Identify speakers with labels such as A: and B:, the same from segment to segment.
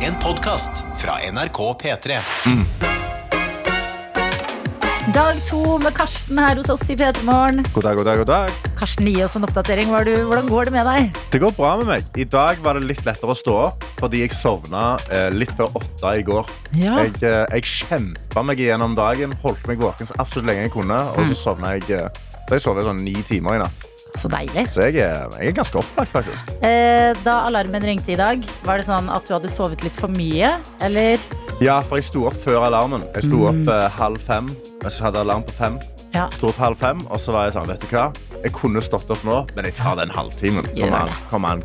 A: En podcast fra NRK P3
B: Dag to med Karsten her hos oss i P3morgen.
C: God dag, god dag, god dag.
B: Karsten, gi oss en oppdatering. Hva er du- Hvordan går det med deg?
C: Det går bra med meg. I dag var det litt lettere å stå opp fordi jeg sovna eh, litt før åtte i går.
B: Ja.
C: Jeg, eh, jeg kjempa meg gjennom dagen, holdt meg våken så absolutt lenge jeg kunne, og
B: Mm.
C: så sovna jeg eh, så jeg sov i sånn ni timer i natt.
B: Så deilig.
C: Så jeg, er- jeg er ganske opplagt, faktisk.
B: Eh, da alarmen ringte i dag, var det sånn at du hadde sovet litt for mye? Eller?
C: Ja, for jeg sto opp før alarmen. Jeg sto opp
B: Mm.
C: eh, halv fem. Jeg hadde alarm på fem.
B: Ja.
C: Sto opp halv fem, og så var jeg sånn, vet du hva? Jeg kunne stått opp nå, men jeg tar den halvtimen.
B: Gjør
C: Kom an,
B: det.
C: kom an.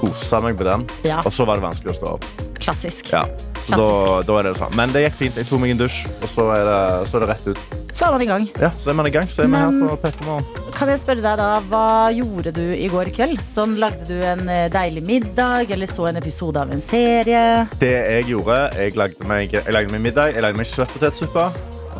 C: Gosa meg på den.
B: Ja.
C: Og så var det vanskelig å stå opp.
B: Klassisk.
C: Ja, så da, da er det sånn. Men det gikk fint. Jeg tok meg en dusj, og så er det, så er det rett ut.
B: Så er man i gang.
C: Ja, så er man i gang. Så er vi
B: Men-
C: her på Pettermorgen.
B: Kan jeg spørre deg da, hva gjorde du i går kveld? Sånn, Lagde du en eh, deilig middag, eller så en episode av en serie?
C: Det jeg gjorde, jeg lagde meg, jeg lagde meg middag, jeg lagde meg søtpotetsuppe.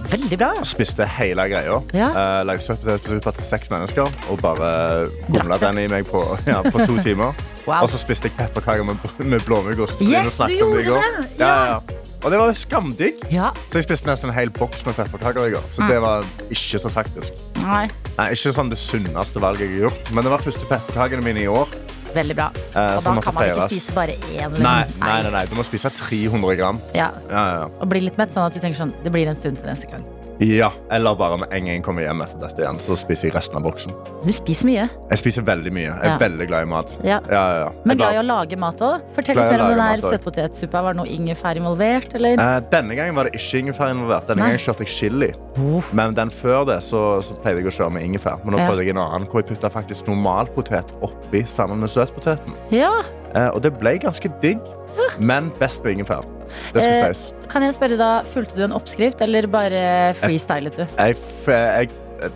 B: Veldig bra.
C: Spiste hele greia.
B: Ja.
C: Eh, lagde søtpotetsuppe til seks mennesker og bare gomla
B: Drakk det.
C: den i meg på, ja, på to timer.
B: Wow.
C: Og så spiste jeg pepperkaker med, med blåmuggost.
B: Yes,
C: Trine snakket
B: du
C: om i
B: gjorde
C: går.
B: det.
C: Ja,
B: Ja.
C: ja. Og det var jo skamdigg.
B: Ja.
C: Så jeg spiste nesten en hel boks med pepperkaker i går.
B: Mm.
C: Så det var ikke så taktisk.
B: Nei.
C: Nei, ikke sånn det sunneste valget jeg har gjort, men det var første pepperkakene mine i år. eh,
B: Veldig bra. Og da
C: som måtte
B: kan man ikke
C: feires.
B: spise bare én. liksom.
C: Nei, nei, nei, nei, du må spise 300 gram.
B: Ja.
C: Ja, ja,
B: Og bli litt mett, sånn at du tenker sånn, det blir en stund til neste gang.
C: ja. ja, Eller bare med en gang jeg kommer hjem etter dette igjen, så spiser jeg resten av boksen.
B: Du spiser mye.
C: Jeg spiser veldig mye. Jeg
B: Ja.
C: er veldig glad i mat.
B: Ja.
C: Ja, ja, ja.
B: Men
C: Eh, Jeg er
B: glad i å lage mat òg. Fortell
C: Glad
B: litt mer
C: i å
B: om den
C: lage
B: her
C: mat også.
B: søtpotetsuppa. Var det noe ingefær involvert, eller?
C: Eh, Denne gangen var det ikke ingefær involvert. Denne
B: Nei.
C: gangen kjørte jeg chili.
B: Oh.
C: Men den før det så, så pleide jeg å kjøre med ingefær. Men nå
B: Ja.
C: prøvde jeg en annen, hvor jeg putta faktisk normalpotet oppi sammen med søtpoteten.
B: Ja.
C: Eh, og det ble ganske digg, men best med ingefær. Det skal
B: Eh,
C: sies.
B: Kan jeg spørre da, Fulgte du en oppskrift, eller bare freestylet du?
C: jeg, f- eh, jeg,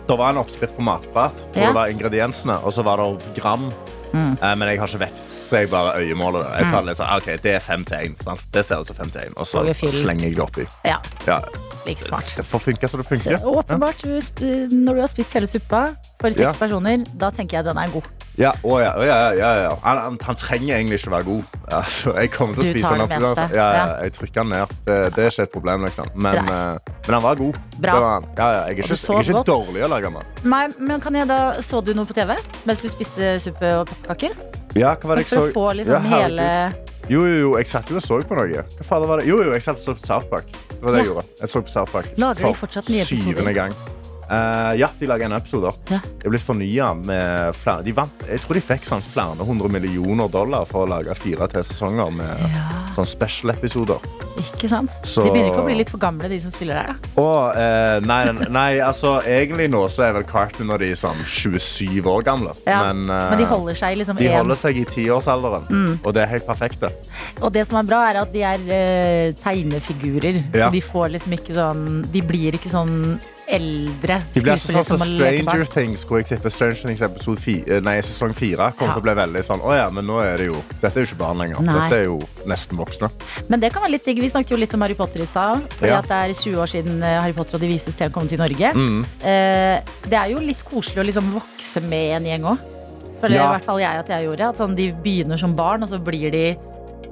C: det var en oppskrift på matprat. Hvor
B: Ja. Mm.
C: det var ingrediensene, og så var det gram. Eh, Men jeg har ikke vekt, så jeg bare øyemåler det. Jeg tar litt sånn, ah, ok, Det er fem til én. sant? Det ser ut som fem til én. Og så
B: Og i fyll.
C: slenger jeg det oppi.
B: Ja,
C: Ja,
B: like smart.
C: det får funke som det funker.
B: Åpenbart, du sp- når du har spist hele suppa for seks
C: Ja.
B: personer, da tenker jeg den er god.
C: Ja, å, ja, å, ja, ja, ja. Han, han, han trenger egentlig ikke være god. Altså, jeg kommer til å
B: Du
C: spise
B: tar
C: han
B: det
C: opp. Altså.
B: meste.
C: Ja, ja,
B: Ja.
C: jeg trykker han ned. Det, det er ikke et problem. Liksom. Men,
B: Nei.
C: eh, men han var god.
B: Bra.
C: Det var han. Ja, ja, jeg er
B: Og du
C: ikke, jeg er
B: sov
C: ikke
B: godt.
C: dårlig å lage mat.
B: Nei, men kan jeg da, Så du noe på TV mens du spiste suppe og pepperkaker?
C: Ja, hva var det jeg
B: For å
C: så?
B: få
C: Ja,
B: liksom
C: herregud.
B: hele
C: Jo, jo, jo, jeg satt jo og så på noe. Hva faen var det? Jo, jo, jeg satt og så på South Park. Det var det jeg
B: Ja.
C: gjorde. Jeg så på South Park
B: Lager de fortsatt nye episoder?
C: syvende gang. Eh, ja, de lager en episode.
B: Ja.
C: De ble fornya med flere de vant, Jeg tror de fikk sånn flere hundre millioner dollar for å lage fire til sesonger med sånn special-episoder.
B: Ikke sant?
C: Så-
B: De begynner ikke å bli litt for gamle, de som spiller der. da.
C: Og eh, nei, nei, nei, altså egentlig nå så er vel Cartman og de sånn 27 år gamle.
B: Ja.
C: Men,
B: Men, de
C: eh,
B: holder seg i liksom
C: de
B: en- Mm.
C: holder seg i tiårsalderen, og det er helt perfekt. det.
B: Og det som er bra, er at de er eh, tegnefigurer.
C: Ja.
B: Så de får liksom ikke sånn De blir ikke sånn eldre
C: De blir altså
B: skuespillere
C: sånn som
B: må leke
C: Stranger
B: barn.
C: Things, hvor jeg tipper Stranger Things episode fi, eh, nei, sesong fire kommer
B: Ja.
C: til å bli veldig sånn Å ja, men nå er det jo Dette er jo ikke barn lenger.
B: Nei.
C: Dette er jo nesten voksne.
B: Men det kan være litt digg. Vi snakket jo litt om Harry Potter i stad. Fordi
C: Ja.
B: at det er 20 år siden eh, Harry Potter og De vises sten kom til Norge.
C: Mm.
B: Eh, det er jo litt koselig å liksom vokse med en gjeng òg. Føler
C: Ja.
B: i hvert fall jeg at jeg gjorde. At sånn, de begynner som barn, og så blir de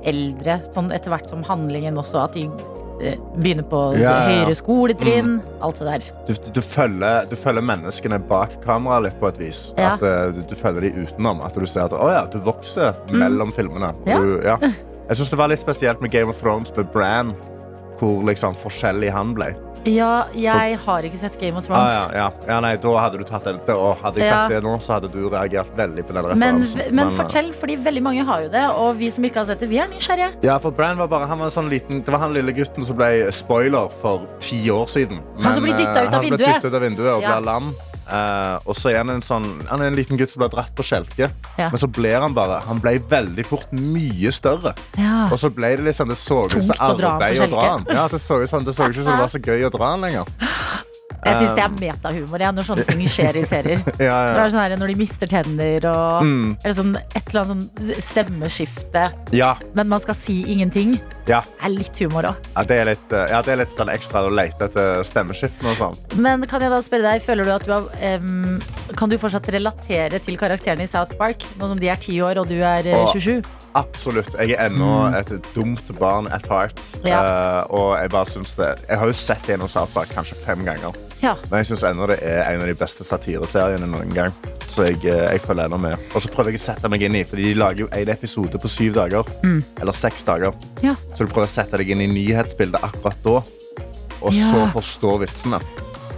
B: eldre sånn etter hvert som handlingen også. At de eh, begynner på
C: Ja, ja, Mm. ja.
B: høyere skoletrinn. Alt det der.
C: Du, du, følger, du følger menneskene bak kameraet litt på et vis.
B: Ja.
C: At, eh, du, du følger de utenom. At du ser at å ja, du vokser mellom filmene.
B: Mm.
C: Og
B: Ja.
C: Du, ja. Jeg syns det var litt spesielt med Game of Thrones med Bran. Hvor liksom forskjellig han ble.
B: Ja, jeg har ikke sett Game of
C: Ah,
B: Thrones.
C: ja, ja. Ja, nei, da hadde du tatt det. Og hadde jeg
B: Ja.
C: sagt det nå, så hadde du reagert veldig på den
B: Men,
C: referansen.
B: men
C: eh,
B: fortell, fordi veldig mange har jo det, og vi som ikke har sett det, vi er nysgjerrige.
C: Ja, for Bran var bare, han var en sånn liten, Det var han lille gutten som ble spoiler for ti år siden.
B: Han som ble
C: eh,
B: dyttet ut av
C: han ble
B: vinduet.
C: dyttet ut av vinduet og
B: Ja.
C: ble lam. Eh, og så er han en, sånn, han er en liten gutt som ble dratt på skjelke.
B: Ja.
C: Men så ble han bare Han ble veldig fort mye større. Og så ble det liksom, det så ut som
B: Tungt å dra han på
C: arbeid å dra
B: skjelke.
C: han. Ja, det så ut som det så ikke ut som det var så gøy å dra han lenger.
B: Jeg syns det er
C: eh,
B: metahumor jeg, når sånne ting skjer i serier. Når,
C: Ja,
B: det
C: ja.
B: er sånn her, når de mister tenner og
C: Mm.
B: eller sånn, et eller annet sånn stemmeskifte,
C: Ja,
B: men man skal si ingenting.
C: ja.
B: Det er litt humor òg.
C: Ja, det er litt, eh, ja, det er litt sånn ekstra å lete etter stemmeskiftene og sånn.
B: Men kan jeg da spørre deg, føler du at du har em, Kan du fortsatt relatere til karakterene i South Park, nå som de er ti år og du er eh,
C: Åh.
B: 27?
C: Absolutt. Jeg er ennå et dumt barn at heart.
B: Mm. Ja.
C: Eh, og jeg bare syns det Jeg har jo sett Gjennom Sapa kanskje fem ganger.
B: Ja.
C: Men jeg syns ennå det er en av de beste satireseriene noen gang. Så jeg, eh, jeg følger ennå med. Og så prøver jeg å sette meg inn i, fordi de lager jo en episode på syv dager.
B: Mm.
C: Eller seks dager.
B: Ja.
C: Så du prøver å sette deg inn i nyhetsbildet akkurat da. Og
B: Ja.
C: så forstå vitsene.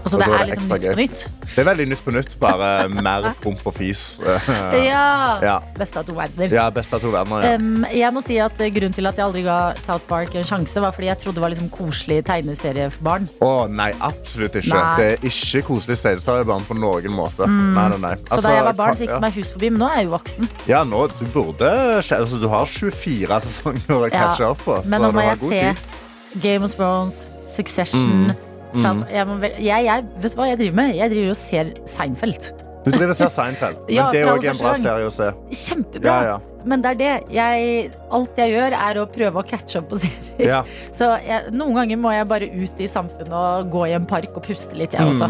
B: Altså,
C: Og
B: det
C: da
B: er
C: er det
B: liksom
C: ekstra
B: nytt på
C: gøy.
B: nytt.
C: Det er veldig nytt på nytt, bare mer promp og fis.
B: Ja.
C: Ja.
B: Beste av to verdener.
C: Ja, best av to verdener. Ja.
B: Um, jeg må si at eh, Grunnen til at jeg aldri ga South Park en sjanse, var fordi jeg trodde det var liksom koselig tegneserie for barn.
C: Å, nei, absolutt ikke.
B: Nei. Mm.
C: Det er ikke koselig stedsarbeid på noen måte. Nei, nei, nei.
B: Så
C: Altså,
B: da jeg var barn, så gikk
C: ja.
B: det meg hus forbi, men nå er jeg jo voksen.
C: Ja, nå, du burde altså, Du har 24 sesonger å
B: Ja.
C: catche opp på.
B: Men nå
C: du
B: må
C: altså. har
B: jeg
C: god
B: se
C: tid. Mm.
B: Game of Thrones, Succession South- jeg, må vel, jeg, jeg Vet du hva jeg driver med? Jeg driver og ser Seinfeld.
C: Du driver og ser Seinfeld. Men
B: Ja,
C: det er
B: for aller
C: jo også en
B: første
C: bra
B: gang.
C: serie å se.
B: Kjempebra!
C: Ja, ja.
B: Men det er det. Jeg, alt jeg gjør, er å prøve å catche opp på serier.
C: Ja.
B: Så jeg, noen ganger må jeg bare ut i samfunnet og gå i en park og puste litt, jeg også.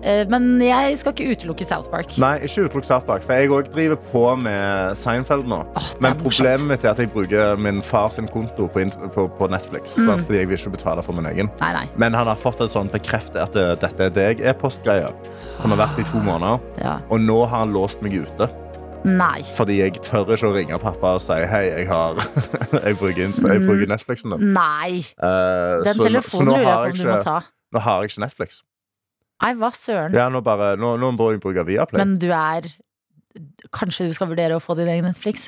B: Eh, Men jeg skal ikke utelukke South Park.
C: Mm. Nei, ikke utelukk Sartbakk, for jeg òg driver på med Seinfeld nå.
B: Åh, det er
C: Men
B: morsomt.
C: problemet mitt er at jeg bruker min fars konto på, ins- på, på Netflix.
B: Mm.
C: Sant? Fordi jeg vil ikke betale for min egen.
B: Nei, nei.
C: Men han har fått et sånn bekreftet at eh, dette er deg-e-postgreie. Som har vært i to måneder.
B: Ja.
C: Og nå har han låst meg ute.
B: Nei.
C: Fordi jeg tør ikke å ringe pappa og si hei, jeg, har, jeg, bruker, Inst- jeg bruker Netflixen din.
B: Nei.
C: Eh,
B: Mm. Den
C: så- så
B: telefonen
C: nå
B: lurer
C: har
B: jeg på om du må
C: ikke-
B: ta.
C: Nå har jeg ikke Netflix.
B: Nei, hva søren.
C: Ja, nå, bare, nå, nå må jeg bruke Viaplay.
B: Men du er Kanskje du skal vurdere å få din egen Netflix?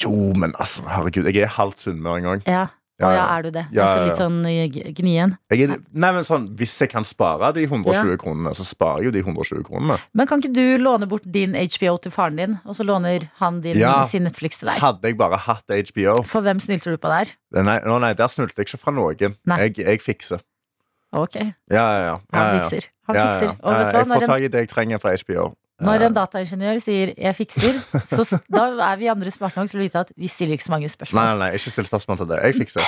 C: jo, men altså, herregud, jeg er halvt sunnmøring òg.
B: Ja.
C: Ja,
B: Å ja,
C: ja.
B: er du det?
C: Ja,
B: altså
C: ja,
B: litt sånn eh, g- gnien.
C: Jeg er- Nei, men sånn, hvis jeg kan spare de 120 kronene, så sparer jeg jo de 120 kronene.
B: Men kan ikke du låne bort din HBO til faren din, og så låner han din
C: Ja.
B: sin Netflix til deg?
C: Hadde jeg bare hatt HBO
B: For hvem snylter du på der?
C: Nei, nå, nei der snulte jeg ikke fra noen.
B: Nei.
C: Jeg, jeg fikser.
B: Ok,
C: Ja, ja, ja. ja,
B: han
C: ja, ja.
B: fikser. Han
C: Ja, ja,
B: fikser.
C: ja.
B: Og vet du hva,
C: Jeg
B: når
C: får
B: en,
C: tak i det jeg trenger fra HBO.
B: når en dataingeniør sier 'jeg fikser', så s- da er vi andre smarte nok til å vite at vi stiller ikke så mange
C: Nei,
B: spørsmål.
C: nei, nei, ikke still spørsmål til det. Jeg fikser.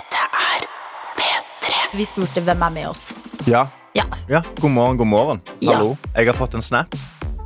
B: Vi spurte hvem er med oss.
C: Ja.
B: Ja,
C: Ja, god morgen, god morgen.
B: Ja.
C: Hallo. Jeg har fått en snap.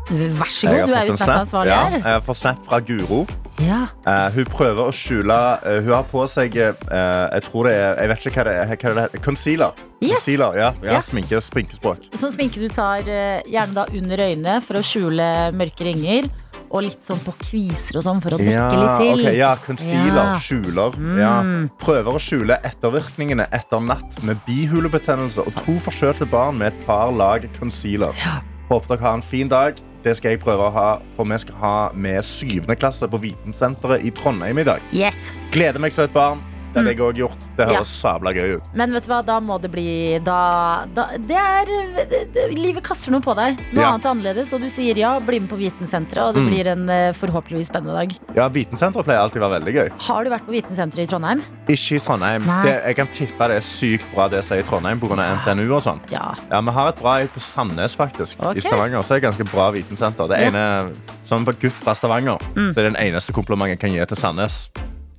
B: vær så god,
C: Jeg har
B: du er
C: fått
B: jo
C: en snap.
B: snappansvarlig
C: Ja,
B: her.
C: jeg har fått snap fra Guro.
B: Ja.
C: Eh, hun prøver å skjule eh, Hun har på seg eh, jeg tror det er Jeg vet ikke hva det er. Hva det heter. Concealer.
B: Yes.
C: Concealer, ja, ja,
B: Ja.
C: Sminke, sminkespråk.
B: Sånn sminke du tar eh, gjerne da under øynene for å skjule mørke ringer. Og litt sånn på kviser og sånn for å dekke litt til.
C: ok, ja, concealer.
B: Ja. Mm.
C: Skjuler. Ja. Prøver å skjule ettervirkningene etter natt med bihulebetennelse og to forkjølte barn med et par lag concealer.
B: Ja.
C: Håper dere har en fin dag. Det skal jeg prøve å ha, for vi skal ha med syvende klasse på Vitensenteret i Trondheim i dag.
B: Yes.
C: Gleder meg som et barn. Det hadde jeg også gjort. Det
B: Mm. Ja.
C: høres sabla gøy ut.
B: Men vet du hva, da må det bli da, da, det er, det- det- Livet kaster noe på deg. Noe
C: Ja.
B: annet er annerledes. Og du sier ja, bli med på Vitensenteret, og det
C: Mm.
B: blir en eh, forhåpentligvis spennende dag.
C: Ja, Vitensenteret pleier alltid å være veldig gøy.
B: Har du vært på Vitensenteret i Trondheim?
C: Ikke i Trondheim.
B: Nei.
C: Det, jeg kan tippe det er sykt bra det sier i Trondheim pga. NTNU og sånn.
B: Ja.
C: Ja, Vi har et bra et på Sandnes, faktisk.
B: Ok.
C: I Stavanger så er det et ganske bra vitensenter. Det
B: Ja. Mm.
C: ene, sånn på gutt fra Stavanger, så er det den eneste komplimenten jeg kan gi til Sandnes.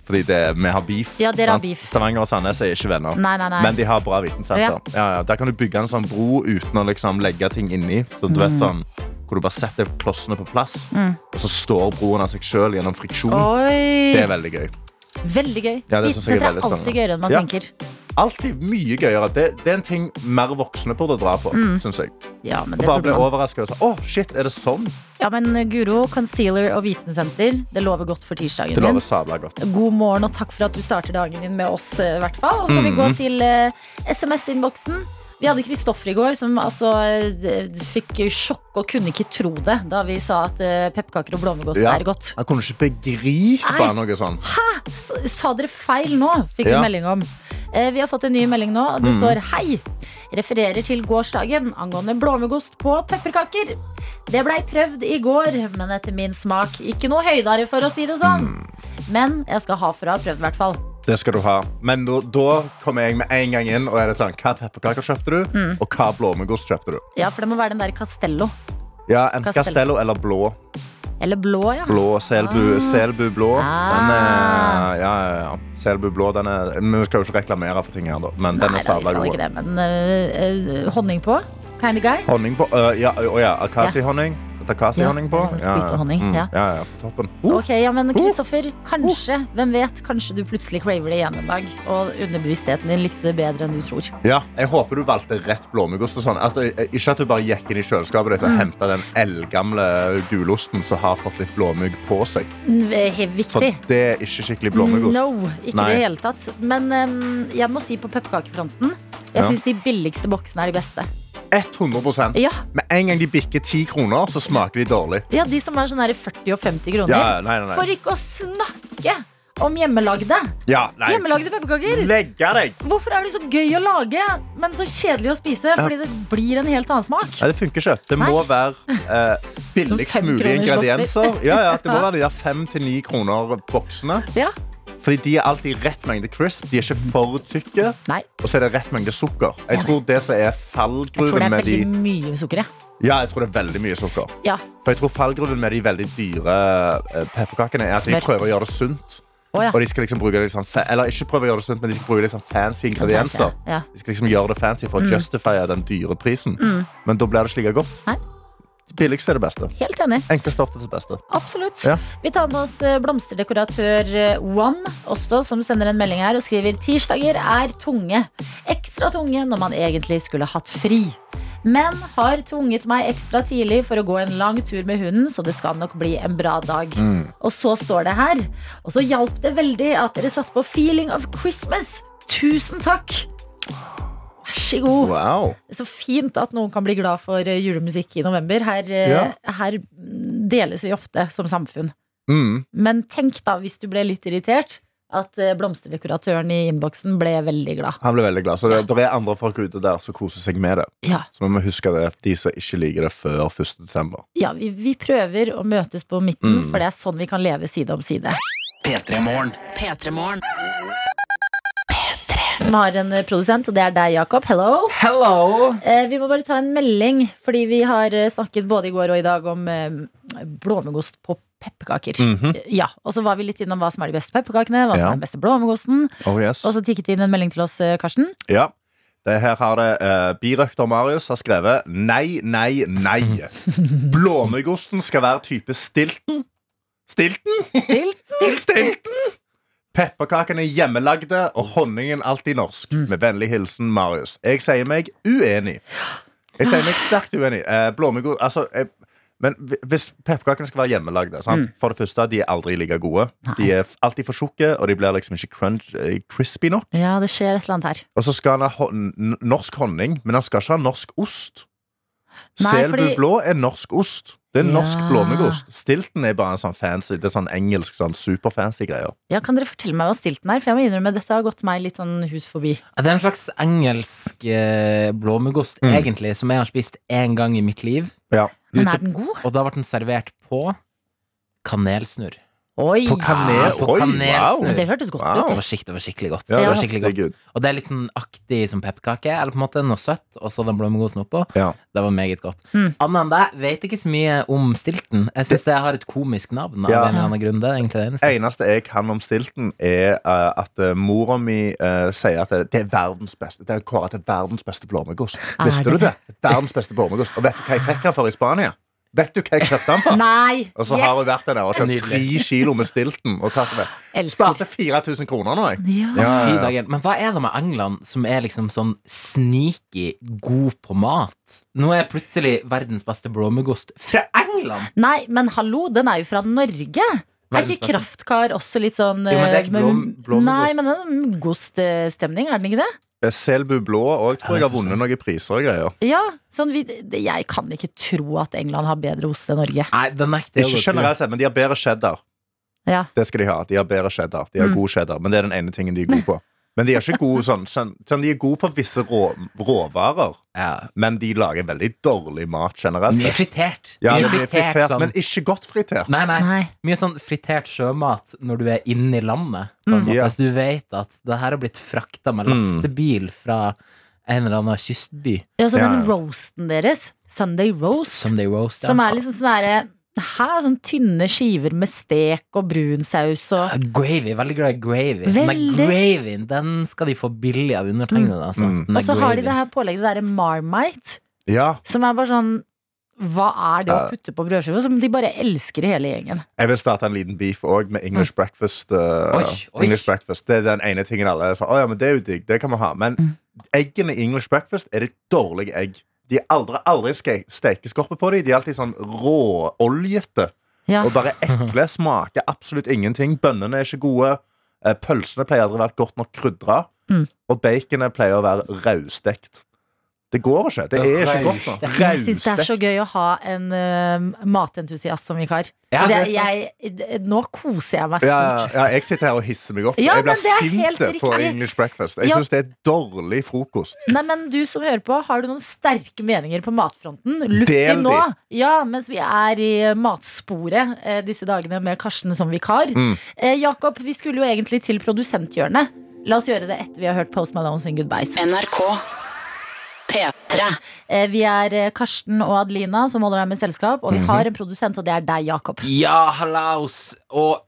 C: Fordi det, vi har beef.
B: Ja, dere har
C: sant?
B: beef.
C: Stavanger og Sandnes er ikke venner.
B: Nei, nei, nei.
C: Men de har bra vitensenter. Ja. Ja, Der kan du bygge en sånn bro uten å liksom legge ting inni. Så du vet
B: Mm.
C: sånn, Hvor du bare setter klossene på plass, og så står broen av seg sjøl gjennom friksjon.
B: Oi!
C: Det er veldig gøy.
B: veldig gøy.
C: Ja, det synes
B: Vitensenteret
C: jeg er veldig
B: er alltid
C: spennende.
B: gøyere enn man
C: Ja.
B: tenker.
C: Alltid mye gøyere. Det, det er en ting mer voksne burde dra på. Synes jeg.
B: Ja, men Mm.
C: Og
B: det
C: bare
B: burde
C: bli
B: man.
C: overraska. Å, shit, er det sånn?
B: Ja, men Guro, concealer og vitensenter, det lover godt for tirsdagen
C: Det
B: din.
C: lover sabla godt.
B: God morgen og takk for at du starter dagen din med oss, eh, i hvert fall. Og så skal vi gå
C: Mm-hmm.
B: til eh, SMS-innboksen. Vi hadde Kristoffer i går som altså eh, d- fikk sjokk og kunne ikke tro det da vi sa at eh, pepperkaker og blåmuggost
C: Ja.
B: er godt.
C: Han kunne ikke begripe
B: Nei.
C: noe sånn. sånt.
B: S sa dere feil nå? Fikk vi
C: Ja. Mm-hmm.
B: melding om. Eh, vi har fått en ny melding nå, og det står hei. Refererer til gårsdagen angående blåmuggost på pepperkaker. Det blei prøvd i går, men etter min smak ikke noe høydere, for å si det sånn.
C: Mm.
B: Men jeg skal ha for å ha prøvd, i hvert fall.
C: Det skal du ha. Men da, da kommer jeg med en gang inn og er det sånn Hva pepperkaker kjøpte du,
B: Mm.
C: og hva blåmuggost kjøpte du?
B: Ja, for det må være den der Castello.
C: Ja, Enten
B: Castello.
C: Castello eller blå.
B: Eller blå, ja.
C: Blå Selbu, Selbu blå. Den
B: Ah.
C: er, ja, ja, ja. Selbu blå, den er Vi skal jo ikke reklamere for ting her, da, men den
B: Nei
C: er
B: da, vi
C: sabla
B: skal ikke
C: god.
B: det, men øh, øh, eh, honning på. Kind of guy.
C: Honning på ø, ja, ø, å ja, Akasihonning. Takasi-honning på.
B: Ja, liksom spist honning,
C: Mm,
B: ja.
C: ja, ja, på toppen. Uh.
B: Ok, ja,
C: Oh.
B: men Kristoffer, kanskje, hvem vet, kanskje du plutselig craver det igjen en dag. Og underbevisstheten din likte det bedre enn du tror.
C: Ja, jeg håper du valgte rett blåmuggost. og sånn. Altså, jeg- ikke at du bare gikk inn i kjøleskapet ditt og
B: Mm.
C: henta den eldgamle gulosten som har fått litt blåmugg på seg.
B: Mm, eh, he-
C: For
B: Viktig.
C: det er ikke skikkelig blåmuggost.
B: No, ikke
C: Nei.
B: i det hele tatt. Men em, jeg må si på pepperkakefronten jeg
C: Ja.
B: syns de billigste boksene er de beste.
C: 100
B: Ja,
C: Med en gang de bikker 10 kroner, så smaker de dårlig.
B: ja de som er sånn her 40 og 50 kroner.
C: Ja, ja, nei, nei, nei.
B: For ikke å snakke om hjemmelagde.
C: Ja, nei.
B: Hjemmelagde pepperkaker.
C: Legge deg!
B: Hvorfor er de så gøy å lage, men så kjedelig å spise? Fordi det blir en helt annen smak.
C: Nei, det funker ikke. Det må
B: Nei.
C: være eh, billigst
B: Sånn
C: mulig
B: femkroners
C: ingredienser.
B: bokser.
C: Ja, ja, det må være de der fem til ni kroner boksene.
B: Ja.
C: Fordi de er alltid rett mengde crisp. De er ikke for tykke.
B: Nei,
C: Og så er det rett mengde sukker. Jeg
B: Ja.
C: tror det som er
B: jeg tror det
C: fallgruven
B: er
C: med de
B: veldig mye sukker, jeg.
C: Ja, jeg tror det er veldig mye sukker.
B: Ja.
C: For jeg tror fallgruven med de veldig dyre eh, pepperkakene er at de
B: Smør.
C: prøver å gjøre det sunt.
B: Å, ja.
C: Og de skal liksom bruke liksom fa Eller ikke prøve å gjøre det sunt, men de skal bruke liksom fancy ingredienser.
B: Ja. Mm.
C: De skal liksom gjøre det fancy for å justify den dyre prisen. Men da blir det ikke like godt.
B: Nei.
C: Det billigste er det beste.
B: Helt enig.
C: Enkle stoff til det beste.
B: Absolutt.
C: Ja.
B: Vi tar med oss eh, blomsterdekoratør eh, One også, som sender en melding her og skriver tirsdager er tunge. Ekstra tunge når man egentlig skulle hatt fri. Men har tvunget meg ekstra tidlig for å gå en lang tur med hunden, så det skal nok bli en bra dag. Og så står det her. Og så hjalp det veldig at dere satte på Feeling of Christmas. Tusen takk! Vær så god.
C: Wow.
B: Så fint at noen kan bli glad for eh, julemusikk i november. Her, eh,
C: Ja.
B: her mm, deles vi ofte som samfunn.
C: Mm.
B: Men tenk da, hvis du ble litt irritert, at eh, blomsterdekoratøren i innboksen ble veldig glad.
C: Han ble veldig glad. Så det, der er andre folk ute der som koser seg med det.
B: Ja,
C: Så vi må huske det, de som ikke liker det før 1. desember.
B: ja vi, vi prøver å møtes på midten,
C: Mm.
B: for det er sånn vi kan leve side om side.
A: P3-morgen.
B: Som har en eh, produsent, og det er deg, Jakob. Hello!
D: Hello!
B: Eh, vi må bare ta en melding, fordi vi har eh, snakket både i går og i dag om eh, blåmuggost på pepperkaker. Eh, Ja, og så var vi litt innom hva som er de beste pepperkakene, hva som
C: Mhm. Ja.
B: er den beste blåmuggosten.
C: Oh, yes.
B: Og så tikket det inn en melding til oss, eh, Karsten.
C: Ja. Det her har det eh, Birøkter Marius har skrevet Nei, nei, nei. Blåmuggosten skal være type stilton. Stilton?
B: Stilt, stilt,
C: Stilton! Pepperkakene er hjemmelagde, og honningen alltid norsk. Med vennlig hilsen Marius. Jeg sier meg uenig. Jeg sier meg sterkt uenig. Eh, blåmuggost Altså eh, men hvi- hvis pepperkakene skal være hjemmelagde sant? For det første, De er aldri like gode. De er f- alltid for tjukke, og de blir liksom ikke crunch, eh, crispy nok.
B: Ja, det skjer et eller annet her.
C: Og så skal han ha hon- n- norsk honning, men han skal ikke ha norsk ost.
B: Nei,
C: Selbu
B: fordi-
C: blå er norsk ost. Det er norsk
B: Ja.
C: blåmuggost. Stilton er bare en sånn fancy, det er sånn engelsk, sånn superfancy greier.
B: Ja, Kan dere fortelle meg hva stilten er? For jeg må innrømme, dette har gått meg litt sånn hus forbi.
D: Det er en slags engelsk eh, blåmuggost,
C: Mm.
D: egentlig, som jeg har spist én gang i mitt liv.
B: Men
D: Ute-
B: er den god?
D: Og da ble den servert på kanelsnurr.
B: Oi!
C: På kanel.
D: På
C: Oi,
D: kanelsnurr.
C: wow.
B: Det hørtes godt
C: Wow.
D: Det
B: ut.
D: var, skikt, det var skikkelig godt.
B: Ja.
C: Ja, det
D: det
C: er
D: var skikkelig
C: skikkelig
D: godt.
C: good.
D: Og det er litt sånn aktig som pepperkake, eller på en måte noe søtt, og så den blåmuggosten oppå.
C: Ja.
D: Det var meget godt.
B: Mm.
D: Annet enn det, vet ikke så mye om stilten. Jeg syns det har et komisk navn av
C: Ja.
D: en eller annen grunn. Det er egentlig det eneste.
C: Eneste jeg kan om stilton, er eh, at eh, mora mi eh, sier at det- det er verdens beste. Det er kåret til verdens beste blåmuggost.
B: Er
C: Visste du
B: det
C: det? Verdens beste blåmuggost. Og vet du hva jeg fikk den for i Spania? Vet du hva jeg kjøpte den for?
B: Nei!
C: Og så har hun vært der og kjøpt
D: Nydelig.
C: tre kilo med Stilton og tatt det med. Sparte
B: Elsker.
C: 4000 kroner nå, jeg.
B: Ja.
D: Fy dagen. Men hva er det med England som er liksom sånn sneaky god på mat? Nå er plutselig verdens beste blåmuggost fra England!
B: Nei, men hallo, den er jo fra Norge! Er ikke
D: Verdens beste.
B: kraftkar også litt sånn
D: Jo, men det er
B: eh,
D: blom- blåmuggost.
B: Nei, men den er goststemning, er den ikke det?
C: Selbu blå òg tror jeg har vunnet noen priser og greier.
B: Ja, sånn vi, det- Jeg kan ikke tro at England har bedre ost enn Norge.
D: Nei, det nekter jeg
C: Ikke
D: å tro.
C: generelt sett, men de har bedre cheddar.
B: Ja.
C: Det skal de ha. De har bedre cheddar. De har
B: Mm.
C: god cheddar, men det er den ene tingen de er gode på. Men de er ikke gode sånn, sånn, sånn De er gode på visse rå, råvarer,
D: Ja.
C: men de lager veldig dårlig mat generelt.
D: Mye
C: sett.
D: fritert.
C: Ja,
D: Mye
C: de blir fritert, men ikke godt fritert.
D: Nei, nei.
B: Nei.
D: Mye sånn fritert sjømat når du er inne i landet. På en
B: Mm.
D: måte.
C: Ja.
D: Så du vet at det her har blitt frakta med
C: Mm.
D: lastebil fra en eller annen kystby.
B: Ja, så
C: Ja,
B: den
C: ja.
B: roasten deres, Sunday roast,
D: Sunday roast. ja.
B: som er liksom sånn derre Hæ? Sånn tynne skiver med stek og brun saus og
D: Ja, Ah, Gravy. Veldig glad i gravy. Den
B: Veldig.
D: der gravyen den skal de få billig av undertegnede. Altså.
C: Mm.
D: Den der
B: Og så har de
D: gravyen.
B: det her pålegget, det derre Marmite,
C: Ja,
B: som er bare sånn Hva er det å putte på brødskiva som de bare elsker i hele gjengen?
C: Jeg vil starte en liten beef òg med
B: Mm.
C: English breakfast. eh,
D: Oi, oi.
C: English breakfast Det er den ene tingen alle sier. Å ja, men det er jo digg, det kan vi ha. Men
B: Mm.
C: eggene i English breakfast er det dårlige egg. De er aldri, aldri ske- stekeskorpe på dem. De er alltid sånn råoljete.
B: Ja.
C: Og bare ekle. Smaker absolutt ingenting. Bønnene er ikke gode. eh, Pølsene pleier aldri å være godt nok krydra.
B: Mm.
C: Og baconet pleier å være raustekt. Det går ikke. Det er ikke godt nok.
B: Jeg syns det er så
C: Raustekt.
B: gøy å ha en eh, matentusiast som vikar.
D: Ja,
B: altså,
D: det er
B: jeg, jeg, nå koser jeg meg
C: Ja,
B: stort.
C: ja, ja, jeg sitter her og hisser meg opp.
B: Ja,
C: jeg blir
B: men det er helt
C: sint på
B: riktig.
C: English breakfast. Jeg
B: Ja.
C: syns det er dårlig frokost.
B: Nei, men du som hører på, har du noen sterke meninger på matfronten? Luft
C: Del
B: inn
C: de.
B: nå! Ja, mens vi er i matsporet eh, disse dagene med Karsten som vikar.
C: Mm.
B: Eh, Jakob, vi skulle jo egentlig til produsenthjørnet. La oss gjøre det etter vi har hørt Post Malone sin Goodbyes.
E: NRK P3
B: Eh, vi er eh, Karsten og Adelina som holder deg med selskap,
C: Mhm.
B: og vi har en produsent, og det er deg, Jakob.
D: Ja, hallaus! Og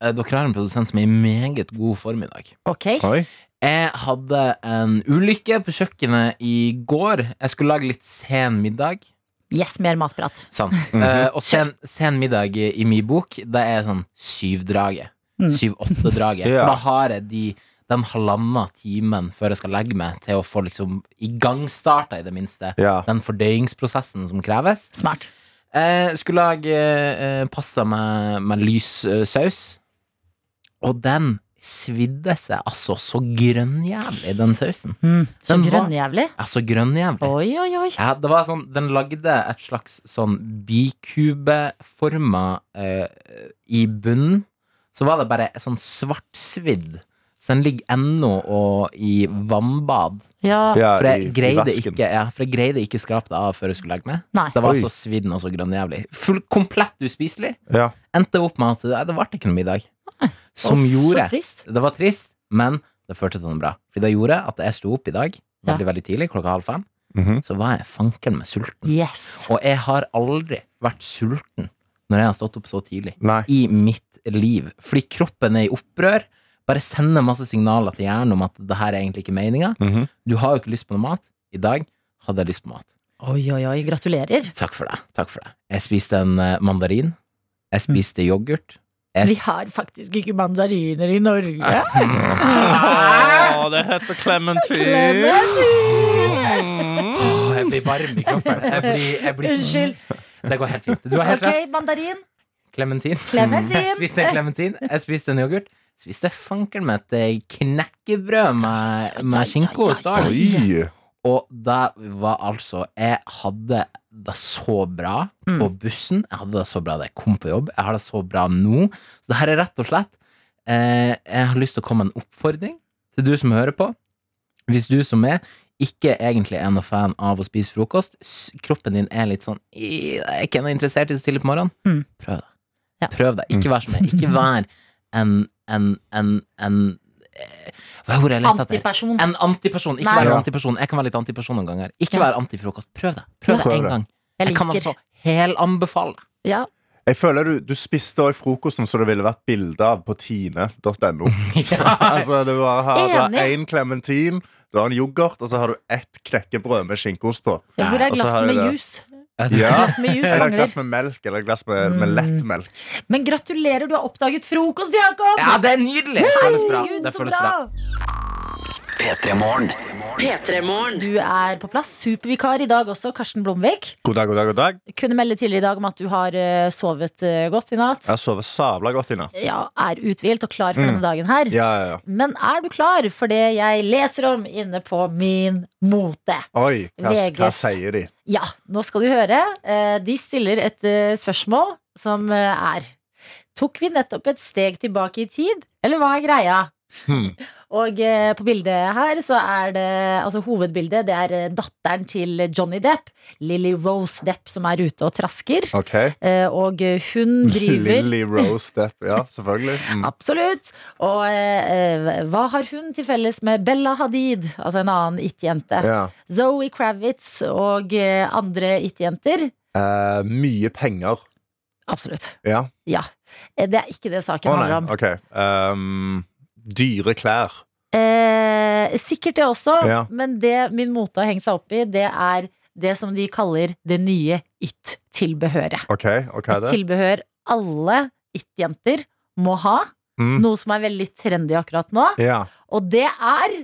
D: eh, dere har en produsent som er i meget god form i dag.
B: Ok?
C: Oi.
D: Jeg hadde en ulykke på kjøkkenet i går. Jeg skulle lage litt sen middag.
B: Yes, mer matprat.
D: Sant. Eh, og sen, sen middag i i min bok, det er sånn syvdraget.
B: Mm.
D: Syv-åtte-draget.
C: Ja.
D: For da har jeg de, den halvannen timen før jeg skal legge meg, til å få liksom igangstarta, i det minste,
C: Ja.
D: den fordøyingsprosessen som kreves.
B: Smart.
D: Jeg skulle lage eh, pasta med, med lys eh, saus, og den svidde seg altså så grønnjævlig, den sausen.
B: Mm. Så
D: Den var-
B: grønnjævlig.
D: Altså grønnjævlig.
B: Oi, oi, oi.
D: Ja, det var sånn, den lagde et slags sånn bikubeforma eh, i bunnen. Så var det bare sånn svartsvidd. Så den ligger ennå og i vannbad.
B: Ja,
C: Ja,
D: For jeg,
C: i- i
D: greide
C: vasken.
D: ikke, ja, for jeg greide ikke skrape det av før jeg skulle legge meg.
B: nei.
D: Det var
C: Oi.
D: så svidd og så grønnjævlig. Full, komplett uspiselig.
C: Ja.
D: Endte opp med at nei, det ble ikke noe middag. Som
B: Uff,
D: gjorde
B: Så trist.
D: Det var trist, men det førte til noe bra. Fordi det gjorde at jeg sto opp i dag
B: Ja.
D: veldig, veldig tidlig, klokka halv fem.
C: Mhm.
D: Så var jeg fanken meg sulten.
B: Yes.
D: Og jeg har aldri vært sulten når jeg har stått opp så tidlig
C: Nei.
D: i mitt liv. Fordi kroppen er i opprør. Bare sender masse signaler til hjernen om at det her er egentlig ikke meninga.
C: Mhm.
D: Du har jo ikke lyst på noe mat. I dag hadde jeg lyst på mat.
B: Oi, oi, oi. Gratulerer.
D: Takk for det. Takk for det. Jeg spiste en eh, mandarin. Jeg spiste yoghurt. Jeg
B: Mm. Vi har faktisk ikke mandariner i Norge.
D: Ah,
B: Ah,
A: Å, det heter Clementine.
D: Åh, jeg blir varm i kroppen. Jeg blir, jeg blir
B: Unnskyld.
D: Det går helt fint. Du har helt
B: Ok,
D: rett.
B: mandarin.
D: Clementin. Jeg spiste en
B: Clementin.
D: klementin, jeg spiste en yoghurt. Spiste fanken meg et eh, knekkebrød med, med skinke og
B: Ja.
D: stang.
C: Oi.
D: Og det var altså Jeg hadde det så bra på
B: Mm.
D: bussen. Jeg hadde det så bra da jeg kom på jobb. Jeg har det så bra nå. Så det her er rett og slett eh, Jeg har lyst til å komme med en oppfordring til du som hører på. Hvis du som er ikke egentlig er noe fan av å spise frokost, s- kroppen din er litt sånn «I, Jeg er ikke noe interessert i så tidlig på morgenen.
B: Mm.
D: Prøv det.
B: Ja.
D: Prøv det. Ikke vær som jeg. Ikke vær en, en, en, en eh, Hva er ordet jeg leter etter?
B: Antiperson.
D: En antiperson. Ikke
B: Mm. Nei.
D: vær
C: Ja.
D: antiperson. Jeg kan være litt antiperson noen ganger. Ikke
B: Ja.
D: vær antifrokost. Prøv det. Prøv
B: Ja.
D: det
C: Prøv
D: en
C: det.
D: gang.
B: Jeg
D: Jeg kan
B: liker.
D: altså helanbefale det.
B: Ja.
C: Jeg føler du, du spiste òg frokosten som det ville vært bilde av på tine.no. Altså, du bare har- du har
B: Enig.
C: én klementin, du har en yoghurt, og så har du ett knekkebrød med skinkeost på.
B: Ja, hvor
D: Ja,
B: er
C: og så har
B: glasset med
C: jeg det.
B: jus?
C: Ja.
B: Glass med Mm. jus
C: Eller et
B: mangler.
C: glass med melk, eller et glass med, med lett melk.
B: Men gratulerer, du har oppdaget frokost, Jakob!
D: Ja, det er nydelig! Det føles bra.
B: Herregud,
D: Det
B: så
D: føles bra.
E: P3-morgen
B: Du er på plass. Supervikar i dag også, Karsten Blomvik.
C: God dag, god dag, god dag.
B: Kunne melde tidligere i dag om at du har eh, sovet eh, godt i natt.
C: Jeg har sovet sabla godt i natt.
B: Ja, er uthvilt og klar for
C: Mm.
B: denne dagen her.
C: Ja, ja, ja.
B: Men er du klar for det jeg leser om inne på min mote?
C: Oi, hva, hva
B: VGs.
C: sier de?
B: Ja, nå skal du høre. Eh, De stiller et eh, spørsmål som eh, er Tok vi nettopp et steg tilbake i tid, eller hva er greia?
D: Hmm.
B: Og eh, på bildet her så er det Altså hovedbildet, det er eh, datteren til Johnny Depp. Lily Rose Depp som er ute og trasker.
C: Ok.
B: Eh, Og eh, hun driver
C: Lily Rose Depp. Ja, selvfølgelig. Mm.
B: Absolutt. Og eh, eh, hva har hun til felles med Bella Hadid, altså en annen it-jente?
C: Ja.
B: Zoe Kravitz og eh, andre it-jenter?
C: Eh, mye penger.
B: Absolutt.
C: Ja.
B: Ja. Eh, Det er ikke det saken
C: Å
B: handler
C: nei,
B: om.
C: ok. Ehm, dyre klær.
B: Eh, sikkert det også,
C: Ja.
B: men det min mote har hengt seg opp i, det er det som de kaller det nye it-tilbehøret.
C: OK, og hva er
B: Et
C: det?
B: tilbehør alle it-jenter må ha.
C: Mm.
B: Noe som er veldig trendy akkurat nå.
C: Ja,
B: Og det er,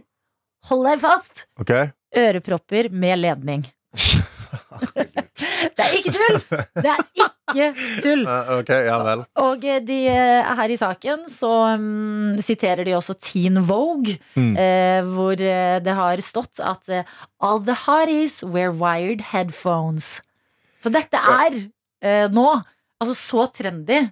B: hold deg fast,
C: OK.
B: ørepropper med ledning. det er ikke tull! Det er ikke tull.
C: Eh, ok, Ja vel.
B: Og eh, de, eh, her i saken så mm, siterer de også Teen Vogue,
C: Mm.
B: eh, hvor eh, det har stått at eh, All the hotties wear wired headphones. Så dette er eh, nå altså så trendy.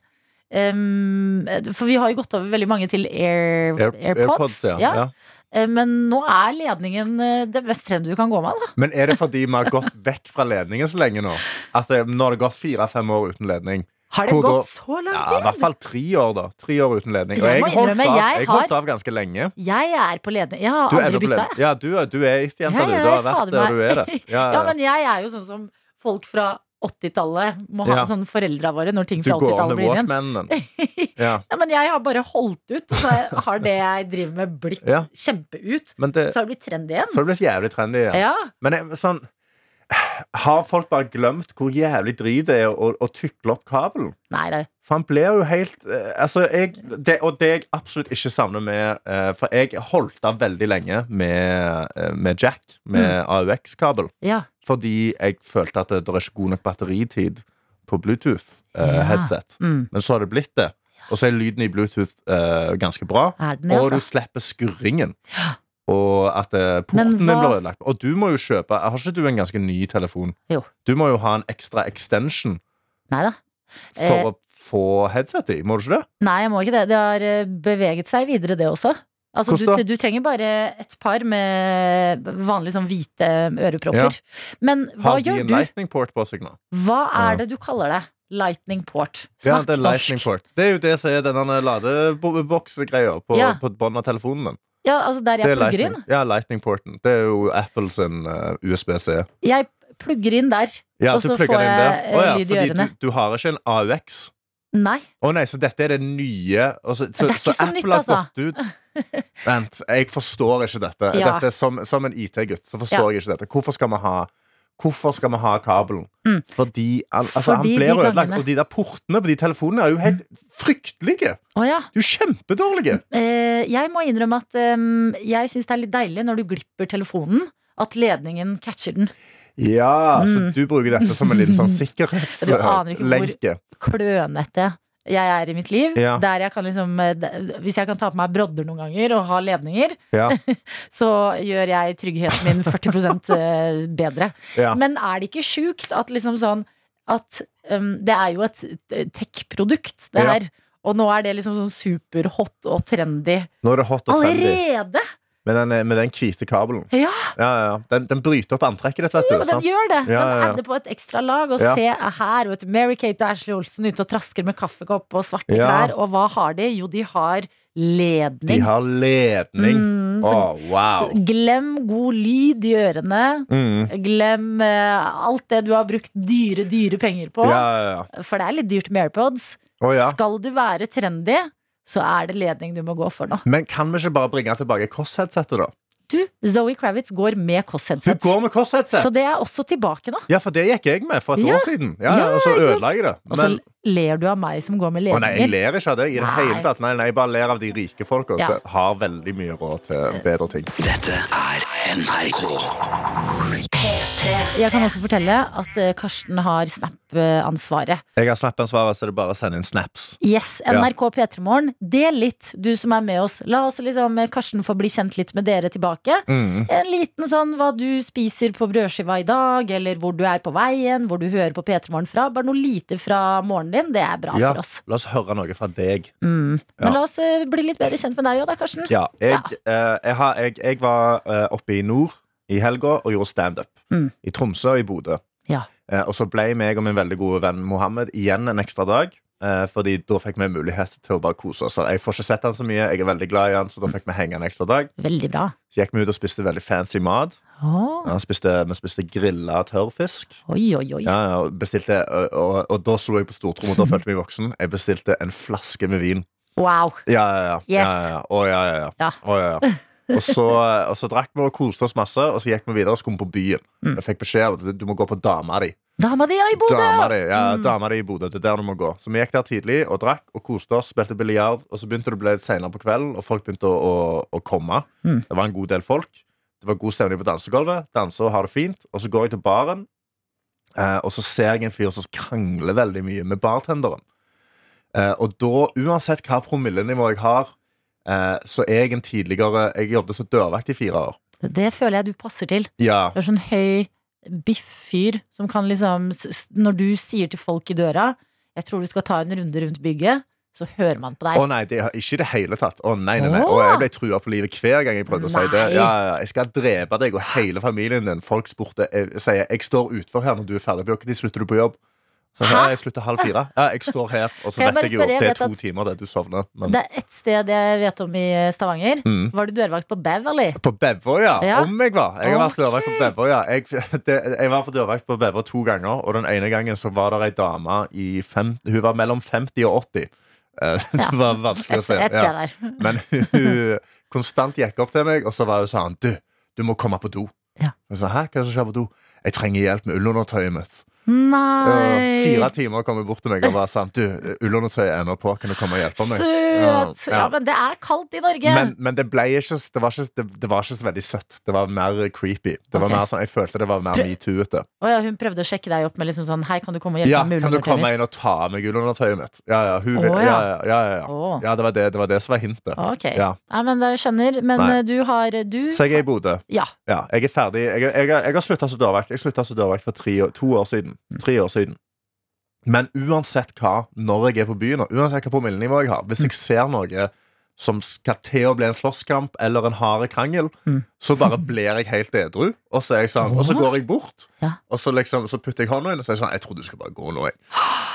B: Um, for vi har jo gått over veldig mange til air,
C: Air-
B: AirPods.
C: ja.
B: ja.
C: ja.
B: Eh, Men nå er ledningen eh, det mest trendy du kan gå med. Da.
C: Men er det fordi vi har gått vekk fra ledningen så lenge nå? Altså, Nå har det gått fire-fem år uten ledning.
B: Har det
C: Hvor da-
B: gått så lang
C: Ja, I
B: tid?
C: hvert fall tre år, da. Tre år uten ledning. Og
B: Jeg
C: jeg,
B: må
C: holdt,
B: innrømme,
C: av,
B: jeg
C: jeg holdt
B: har-
C: av ganske lenge.
B: Jeg er på ledning. Jeg har
C: Du er
B: aldri
C: ennå på
B: bytta, jeg.
C: ledning. Ja, du, er- du er isjenta,
B: Ja,
C: du.
B: ja,
C: Du har
B: jeg
C: vært
B: fader
C: der du
B: meg.
C: er det. Ja,
B: Ja,
C: ja.
B: men jeg er jo sånn som folk fra 80-tallet må ha
C: Ja.
B: sånn foreldra våre når ting
C: Du
B: fra
C: går an
B: 80-tallet
C: med
B: blir igjen.
C: walkmanen. Ja.
B: Ja, men jeg har bare holdt ut, og så har det jeg driver med, blitt
C: Ja.
B: kjempeut.
C: Men det,
B: Så har det blitt trendy igjen.
C: så det ble så jævlig trendy igjen.
B: Sånn. Ja.
C: Men jeg, sånn Har folk bare glemt hvor jævlig drit det er å, å tykle opp kabelen?
B: Nei, nei.
C: For han blir jo helt eh, altså jeg, det, Og det jeg absolutt ikke savner med eh, For jeg holdt av veldig lenge med, eh, med Jack,
B: Mm.
C: med AUX-kabel,
B: Ja.
C: fordi jeg følte at det, det er ikke god nok batteritid på
B: Ja.
C: Bluetooth-headset.
B: Mm.
C: Men så har det blitt det. Og så er lyden i Bluetooth eh, ganske bra.
B: Er den det,
C: Og du
B: altså?
C: slipper skurringen. Og at eh, porten
B: Men
C: din
B: hva-
C: blir ødelagt. Og du må jo kjøpe Har ikke du en ganske ny telefon?
B: Jo.
C: Du må jo ha en ekstra extension
B: Nei da.
C: for
B: Eh.
C: å få headset i, må du ikke det?
B: Nei, jeg må ikke det. Det har eh, beveget seg videre, det også. Altså,
C: Hvordan
B: du, du trenger bare et par med vanlige sånn hvite
C: Ja.
B: ørepropper. Men hva
C: Har de
B: gjør
C: en
B: du?
C: lightning port på seg nå?
B: Hva
C: Ja.
B: er det du kaller det? Lightning port.
C: Ja,
B: Snakk
C: det er lightning
B: norsk.
C: port. Det er jo det som er denne ladeboksgreia på,
B: Ja.
C: på bånn av telefonen. din.
B: Ja, altså der
C: Det er
B: jeg plugger
C: lightning.
B: inn.
C: Ja, lightning porten. Det er jo Apple sin eh, USB-C.
B: Jeg plugger inn der.
C: Ja,
B: Og
C: du
B: så
C: plugger
B: får
C: den inn der.
B: jeg, eh,
C: Å ja,
B: lyd i
C: fordi
B: ørene.
C: Du, du har ikke en AUX.
B: Nei.
C: Å nei, så dette er det nye altså,
B: Det
C: Så,
B: er ikke
C: så
B: så nytt,
C: Apple har
B: altså.
C: gått ut Vent, jeg forstår ikke dette,
B: Ja.
C: dette er som, som en IT-gutt så forstår jeg ikke dette Hvorfor skal vi ha, hvorfor skal vi ha kabelen?
B: Mm.
C: Fordi, al altså,
B: Fordi
C: han
B: de
C: blir ødelagt
B: gangene-
C: Og de der portene på de telefonene er jo helt fryktelige
B: Å ja.
C: De er jo kjempedårlige
B: Eh, jeg må innrømme at eh, jeg syns det er litt deilig når du glipper telefonen, at ledningen catcher den.
C: Ja, så
B: Mm.
C: du bruker dette som en liten sånn
B: Du aner ikke hvor-
C: sikkerhetslenke
B: Klønete jeg er i mitt liv.
C: Ja.
B: Der jeg kan liksom eh, d- Hvis jeg kan ta på meg brodder noen ganger og ha ledninger,
C: ja,
B: så gjør jeg tryggheten min 40 eh, bedre.
C: ja.
B: Men er det ikke sjukt at liksom sånn at um, Det er jo et eh, tech-produkt, det
C: Ja.
B: her. Og nå er det liksom sånn superhot og trendy.
C: Nå er det hot og trendy
B: Allerede!
C: Med den, med den hvite kabelen
B: Ja,
C: ja, ja. Den, den bryter opp antrekket ditt, vet du
B: ja, men den
C: sant?
B: gjør det!
C: Ja, ja,
B: Den
C: ja.
B: adder på et ekstra lag. Og
C: Ja.
B: se her, vet du, Mary-Kate og Ashley Olsen ute og trasker med kaffekopp og svarte
C: Ja.
B: klær. Og hva har de? Jo, de har
C: De
B: ledning.
C: har ledning
B: Mm,
C: Å,
B: så
C: wow.
B: glem god lyd i ørene.
C: Mm.
B: Glem eh, alt det du har brukt dyre, dyre penger på.
C: Ja, ja, ja.
B: For det er litt dyrt med AirPods.
C: Å, ja.
B: Skal du være trendy, så er det ledning du må gå for nå.
C: Men kan vi ikke bare bringe tilbake Koss-headsetet, da?
B: Du, Zoe Kravitz går med
C: Du
B: Koss-headset.
C: går med
B: Så
C: Koss-headset!
B: det er også tilbake nå.
C: Ja, for det gikk jeg med for et
B: Ja.
C: år siden. Ja, ja,
B: Ja,
C: og så
B: ikke sant?
C: ødela jeg det.
B: Og så
C: Men,
B: ler du av meg som går med
C: å nei, jeg
B: ledninger.
C: ler ikke av det i det
B: Nei.
C: hele tatt. Nei, nei, jeg bare ler av de rike folka
B: Ja.
C: som har veldig mye råd til bedre ting.
B: Jeg kan også fortelle at eh, Karsten har eh, Snap-ansvaret.
C: Jeg har snappansvaret, så det er bare å sende inn snaps.
B: Yes,
C: Ja.
B: NRK P3 Morgen, del litt, du som er med oss. La oss liksom eh, Karsten få bli kjent litt med dere tilbake.
C: Mm.
B: En liten sånn hva du spiser på brødskiva i dag, eller hvor du er på veien, hvor du hører på P3 Morgen fra. Bare noe lite fra morgenen din, det er bra
C: Ja.
B: for oss.
C: La oss høre noe fra deg.
B: Mm.
C: Ja.
B: Men la oss eh, bli litt bedre kjent med deg òg, da, Karsten.
C: Ja, jeg, eh, jeg, har, jeg, jeg var eh, oppe i nord i helga og gjorde standup.
B: Mm.
C: I Tromsø og i Bodø.
B: Ja.
C: Eh, og så ble meg og min veldig gode venn Mohammed igjen en ekstra dag. eh, fordi da fikk vi mulighet til å bare kose oss. Jeg får ikke sett han så mye, jeg er veldig glad i han, så da fikk vi henge en ekstra dag.
B: Veldig bra.
C: Så gikk vi ut og spiste veldig fancy mat.
B: Åh,
C: Han spiste, vi spiste grilla tørrfisk.
B: Oi, oi, oi.
C: Ja, ja, og, bestilte, og, og, og da slo jeg på stortrommet, og da følte jeg meg voksen. Jeg bestilte en flaske med vin.
B: Wow.
C: Ja, ja, ja.
B: Yes.
C: ja, ja, ja. Å, ja, ja, ja.
B: Ja.
C: Å, ja, ja. Og, så, og så drakk vi og koste oss masse, og så gikk vi videre og skulle på byen.
B: Mm.
C: Jeg fikk beskjed om at du må gå på dama di.
B: Dama di er i Bodø! Mm.
C: Dama di, ja, dama di i Bodø. Det er der du må gå. Så vi gikk der tidlig og drakk og koste oss. Spilte biljard. Og så begynte det å bli litt seinere på kvelden, og folk begynte å, å, å komme.
B: Mm.
C: Det var en god del folk. Det var god stemning på dansegulvet. Danse og ha det fint. Og så går jeg til baren, eh, og så ser jeg en fyr som krangler veldig mye med bartenderen. Eh, og da, uansett hva promillenivå jeg har, eh, så er jeg en tidligere Jeg jobbet som dørvakt i fire år.
B: Det føler jeg du passer til.
C: Ja.
B: Du er sånn høy, biff fyr som kan liksom s- s- Når du sier til folk i døra 'Jeg tror du skal ta en runde rundt bygget', så hører man på deg.
C: Å nei, det er ikke i det hele tatt. Å nei, nei, nei.
B: Åh.
C: Å, jeg ble trua på livet hver gang jeg prøvde å si det.
B: Nei.
C: Ja, ja, ja. jeg skal drepe deg og hele familien din. Folk spurte, jeg, sier jeg står utfor her når du er ferdig. Bjørk, de slutter du på jobb? Så
B: Hæ?
C: jeg, ja, jeg slutter halv fire. Ja, jeg står her, og
B: Kan
C: så
B: jeg bare
C: vet jeg jo
B: spørre, jeg
C: det
B: vet
C: er to
B: at-
C: timer det du sovner. Men,
B: Det er ett sted jeg vet om i eh, Stavanger.
C: Mm.
B: Var du dørvakt på Beverly?
C: På Bevøya?
B: Ja.
C: Om jeg var! Jeg har vært
B: Ok.
C: dørvakt på Bevøya. Jeg, det, jeg var på dørvakt på Bevøya to ganger, og den ene gangen så var det ei dame i fem, Hun var mellom 50 og 80. Eh, Det
B: Ja.
C: var vanskelig
B: Et,
C: å se.
B: et
C: Ja.
B: sted der.
C: Men hun konstant gikk opp til meg, og så var hun sånn Du, du må komme på do.
B: Ja.
C: Jeg sa, hæ, hva er det som skjer på do? Jeg trenger hjelp med ullundertøyet mitt. Og fire
B: Nei!
C: timer kom hun bort til meg og var sånn Du, ullundertøyet er nå på, kan du komme og hjelpe meg?
B: Søt!
C: Ja, ja.
B: Ja, men det er kaldt i Norge.
C: Men, men det, ble ikke, s- det, var ikke, s- det, det var ikke så veldig søtt. Det var mer creepy. Det var
B: Ok.
C: mer sånn, Jeg følte det var mer
B: Prø-
C: metoo-ete.
B: Å ja, hun prøvde å sjekke deg opp med liksom sånn 'Hei, kan du komme og hjelpe
C: Ja,
B: meg med
C: kan du komme
B: ullundertøyet mitt?'
C: inn og ta av meg ullundertøyet mitt? Ja, ja, hun, vil-
B: Å,
C: ja,
B: ja.
C: ja, ja, ja, ja.
B: Å,
C: ja det, var det, det var det som var hintet.
B: ok.
C: Ja.
B: Nei, men jeg skjønner. Men
C: Nei.
B: eh, du har Du
C: Så jeg er i Bodø.
B: Ja.
C: Ja, jeg er ferdig. Jeg, jeg, jeg, jeg har slutta som dørvakt. Jeg slutta som dørvakt for tre, år- to år siden.
B: Mm.
C: Tre år siden. Men uansett hva, når jeg er på byen, og uansett hva promillenivå jeg har, hvis
B: Mm.
C: jeg ser noe som skal til å bli en slåsskamp eller en hard krangel,
B: Mm.
C: så bare blir jeg helt edru, og så, er jeg sånn, og så går jeg bort.
B: Ja.
C: Og så, liksom, så putter jeg hånda inn og så er jeg sånn Jeg tror du skal bare gå nå, jeg.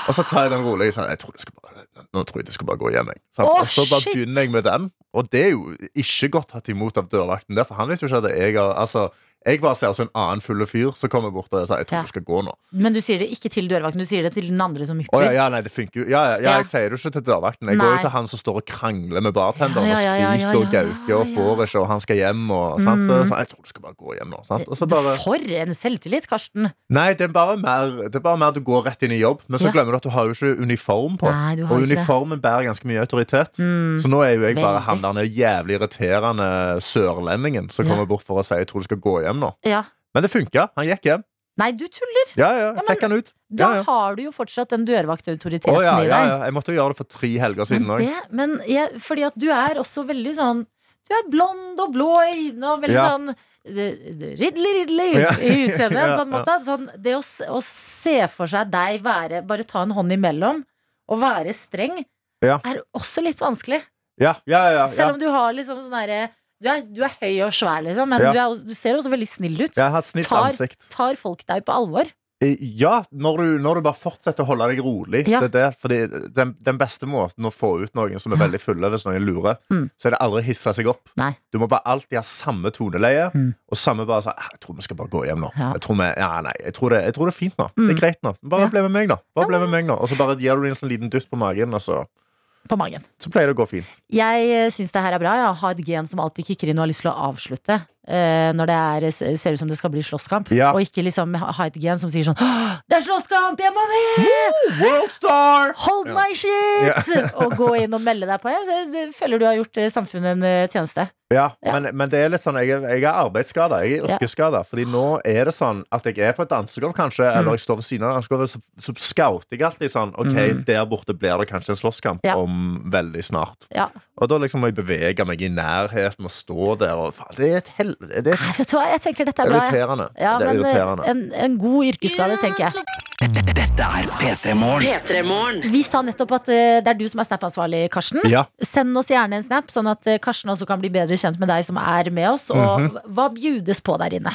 C: Og så tar jeg den rolig. Sånn, jeg tror du skal bare, nå tror jeg du skal bare gå hjem, jeg. Sant?
B: Å,
C: og så bare
B: shit.
C: begynner jeg med den. Og det er jo ikke godt tatt imot av dørvakten der, for han vet jo ikke at jeg har Altså, jeg bare ser altså en annen fulle fyr som kommer bort og sier 'jeg tror
B: Ja.
C: du skal gå nå'.
B: Men du sier det ikke til dørvakten, du sier det til den andre som
C: Å ja,
B: hypper.
C: ja, nei, det funker jo. Ja, ja, ja,
B: Ja.
C: jeg sier det jo ikke til dørvakten. Jeg går
B: Nei.
C: jo til han som står og krangler med bartenderen
B: Ja, ja, ja, ja,
C: og skriker og
B: ja, ja,
C: gauker og
B: ja.
C: får ikke, og han skal hjem og sant? Så,
B: Mm.
C: så jeg tror du skal bare gå hjem nå. Sant? Og så bare
B: Eh, For en selvtillit, Karsten!
C: Nei, det er bare mer, det er bare mer at du går rett inn i jobb, men så
B: Ja.
C: glemmer du at du har jo ikke uniform på.
B: Nei, du har
C: Og
B: ikke det.
C: uniformen bærer ganske mye autoritet.
B: Mm.
C: Så nå er jo jeg bare
B: Veldig.
C: han der jævlig irriterende sørlendingen som
B: Ja.
C: kommer bort for å si 'jeg tror du skal gå hjem' nå.
B: Ja.
C: Men det funka. Han gikk hjem.
B: Nei, du tuller!
C: Ja, ja,
B: men-
C: jeg fikk han ut.
B: Da
C: Ja, ja.
B: har du jo fortsatt den
C: Å
B: dørvaktautoriteten
C: ja,
B: i
C: ja,
B: deg.
C: ja. Jeg måtte jo gjøre det for tre helger siden
B: Men,
C: òg.
B: det, men jeg, fordi at du er også veldig sånn Du er blond og blå i øynene og veldig
C: Ja.
B: sånn eh, Ridley Ridley
C: Ja.
B: i utseendet,
C: Ja,
B: på en måte. Sånn, det å, s- å se for seg deg være Bare ta en hånd imellom og være streng,
C: Ja.
B: er også litt vanskelig.
C: Ja, ja, ja, ja.
B: Selv om du har liksom sånn derre du, er- du er høy og svær, liksom, men
C: Ja.
B: du, er, også- du ser også veldig snill ut.
C: Jeg har et snilt
B: Tar-
C: ansikt.
B: Tar folk deg på alvor?
C: Eh, Ja, når du, når du bare fortsetter å holde deg rolig.
B: Ja.
C: Det er det, fordi den, den beste måten å få ut noen som er veldig fulle, hvis noen lurer,
B: Mm.
C: så er det aldri å hisse seg opp.
B: Nei.
C: Du må bare alltid ha samme toneleie
B: Mm.
C: og samme bare sånn «Ah, 'Jeg tror vi skal bare gå hjem nå.'
B: Ja.
C: Jeg, tror vi, ja, nei, jeg, tror det, jeg tror det er fint nå. Det
B: Mm.
C: er greit nå. Bare
B: Ja.
C: bli med meg, nå. Bare bli med meg nå. Og så bare gir du dem en sånn liten dytt på magen, og så,
B: På magen.
C: så pleier det å gå fint.
B: Jeg syns det her er bra. Jeg har et gen som alltid kicker inn og har lyst til å avslutte eh, når det er, s- ser ut som det skal bli slåsskamp.
C: Ja.
B: Og ikke liksom ha ha et gen som sier sånn «Åh, Det er slåsskamp! Jeg må med!
C: Worldstar!
B: Hold
C: Ja.
B: my shit! Og gå inn og melde deg på. Jeg s- s- føler du har gjort eh, samfunnet en eh, tjeneste.
C: Ja,
B: Ja.
C: Men, men det er litt sånn jeg, er- jeg er arbeidsskada. Jeg er
B: Ja.
C: yrkesskada. Fordi nå er det sånn at jeg er på et dansegulv, kanskje,
B: Mm.
C: eller jeg står ved siden av dansegulvet, så, så scouter jeg alltid sånn OK,
B: Mm.
C: der borte blir det kanskje en slåsskamp
B: Ja.
C: om veldig snart.
B: Ja.
C: Og da liksom må jeg bevege meg i nærheten og stå der og faen, Det er et helvete. Det er
B: Nei, vet du hva, jeg tenker dette er bra. jeg.
C: irriterende.
B: Ja,
C: det er
B: men eh,
C: irriterende.
B: en, en god yrkesskade, tenker jeg.
E: P3morgen.
B: Vi sa nettopp at eh, det er du som er Snap-ansvarlig, Karsten.
C: Ja.
B: Send oss gjerne en Snap, sånn at eh, Karsten også kan bli bedre kjent med deg som er med oss. Og
C: Mhm.
B: hva bjudes på der inne?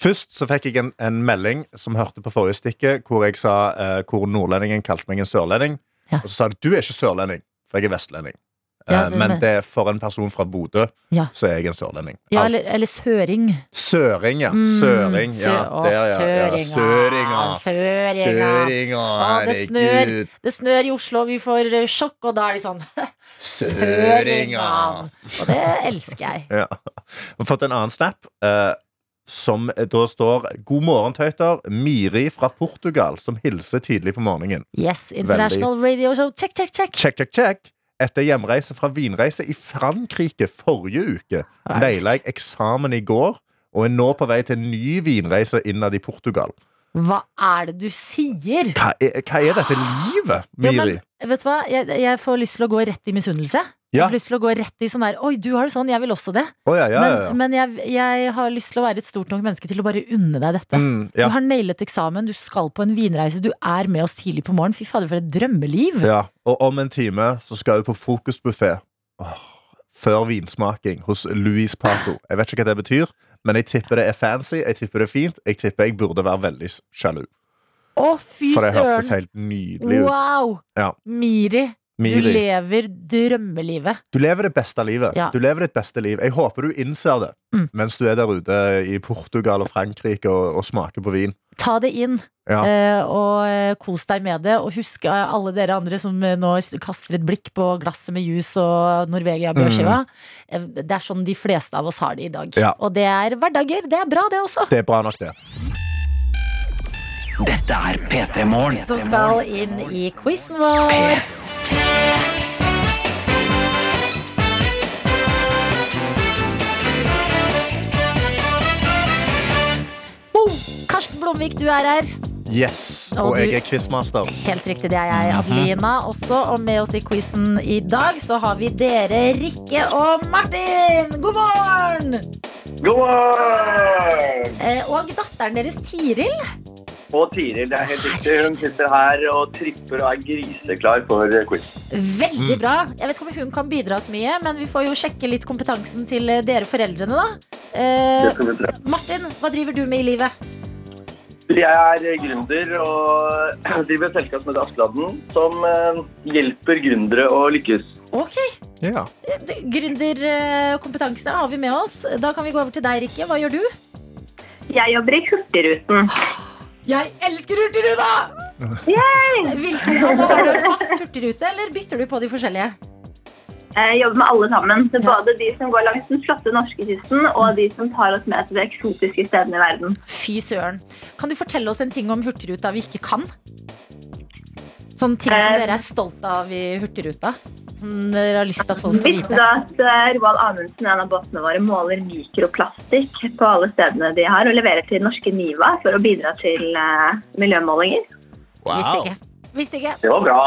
C: Først så fikk jeg en, en melding som hørte på forrige stikke, hvor jeg sa eh, hvor nordlendingen kalte meg en sørlending.
B: Ja.
C: Og så sa de du er ikke sørlending, for jeg er vestlending.
B: Ja,
C: Eh,
B: du-
C: men det er for en person fra Bodø,
B: Ja.
C: så er jeg en sørlending.
B: Ja,
C: Alt.
B: eller, eller søring.
C: Søring, ja.
B: Mm,
C: Søring.
B: sø-
C: Ja.
B: å,
C: Der, ja. ja.
B: Søringa.
C: Søringa.
B: Søringa.
C: Søringa.
B: Å, det snør.
C: herregud.
B: Det snør i Oslo, vi får eh, sjokk, og da er de sånn
C: Søringa.
B: Og det elsker jeg.
C: Ja. Jeg har fått en annen snap eh, som da står 'God morgen, tøyter'. Miri fra Portugal som hilser tidlig på morgenen.
B: Yes, International Radio Show. Check, check, check.
C: Check, check, check. Etter hjemreise fra vinreise i Frankrike forrige uke
B: Raust.
C: naila jeg eksamen i går og er nå på vei til en ny vinreise innad i Portugal.
B: Hva er det du sier?
C: Hva er, hva er dette livet,
B: Jo,
C: Miri?
B: men, vet du hva? Jeg, jeg får lyst til å gå rett i misunnelse. Jeg
C: Ja.
B: får lyst til å gå rett i sånn der Oi, du har det sånn, jeg vil også det.
C: Å, ja, ja, ja, ja.
B: Men, men jeg, jeg har lyst til å være et stort nok menneske til å bare unne deg dette.
C: Mm, ja.
B: Du har nailet eksamen, du skal på en vinreise, du er med oss tidlig på morgenen. Fy fader, for et drømmeliv!
C: Ja, og om en time så skal jeg på frokostbuffé Åh, før vinsmaking hos Louis Paco. Jeg vet ikke hva det betyr, men jeg tipper det er fancy, jeg tipper det er fint. Jeg tipper jeg burde være veldig sjalu,
B: Å, fy
C: for det hørtes
B: søren!
C: helt nydelig ut.
B: Wow!
C: Ja.
B: Miri, du
C: Miri,
B: lever drømmelivet.
C: du lever det beste livet.
B: Ja.
C: Du lever ditt beste liv. Jeg håper du innser det
B: Mm.
C: mens du er der ute i Portugal og Frankrike og, og smaker på vin.
B: Ta det inn,
C: Ja.
B: eh, og eh, kos deg med det. Og husk eh, alle dere andre som eh, nå kaster et blikk på glasset med juice og Norvegia brødskiva. Eh, Det er sånn de fleste av oss har det i dag.
C: Mm. Ja.
B: Og det er hverdager. Det er bra, det også.
C: Det er bra nok, det.
F: Dette er P3 Morgen.
B: Som skal inn i quizen vår. Boom! Karsten Blomvik, du er her.
C: Yes.
B: Og
C: Og jeg
B: du-
C: er quizmaster.
B: Helt riktig, det er jeg, Adelina også. Og med oss i quizen i dag så har vi dere, Rikke og Martin. God morgen!
G: God morgen!
B: Eh, Og datteren deres, Tiril.
G: Og Tiril, det er helt riktig. Hun sitter her og tripper og er griseklar for quiz.
B: Veldig bra. Jeg vet ikke om hun kan bidra så mye, men vi får jo sjekke litt kompetansen til eh, dere foreldrene, da. Eh,
G: Det skal vi prøve.
B: Martin, hva driver du med i livet?
G: Jeg er gründer og driver et selskap som heter Askeladden, som eh, hjelper gründere å lykkes.
B: Ok,
C: Ja.
B: Eh, Gründerkompetanse eh, har vi med oss. Da kan vi gå over til deg, Rikke. Hva gjør du?
H: Jeg jobber i Hurtigruten.
B: Jeg elsker Hurtigruta! Hvilken, altså, har du en fast hurtigrute, eller bytter du på de forskjellige?
H: Jeg jobber med alle sammen. Så
B: Ja.
H: både de som går langs den flotte norskekysten, og de som tar oss med til de eksotiske stedene i verden.
B: Fy søren. Kan du fortelle oss en ting om Hurtigruta vi ikke kan? Sånne ting som
H: Eh.
B: dere er stolt av i Hurtigruta? Som dere har lyst til at folk skal
H: Visste du
B: vite?
H: at eh, Roald Amundsen, en av båtene våre, måler mikroplastikk på alle stedene de har, og leverer til norske NIVA for å bidra til eh, miljømålinger?
B: Visste ikke. Visste ikke.
G: Det var bra.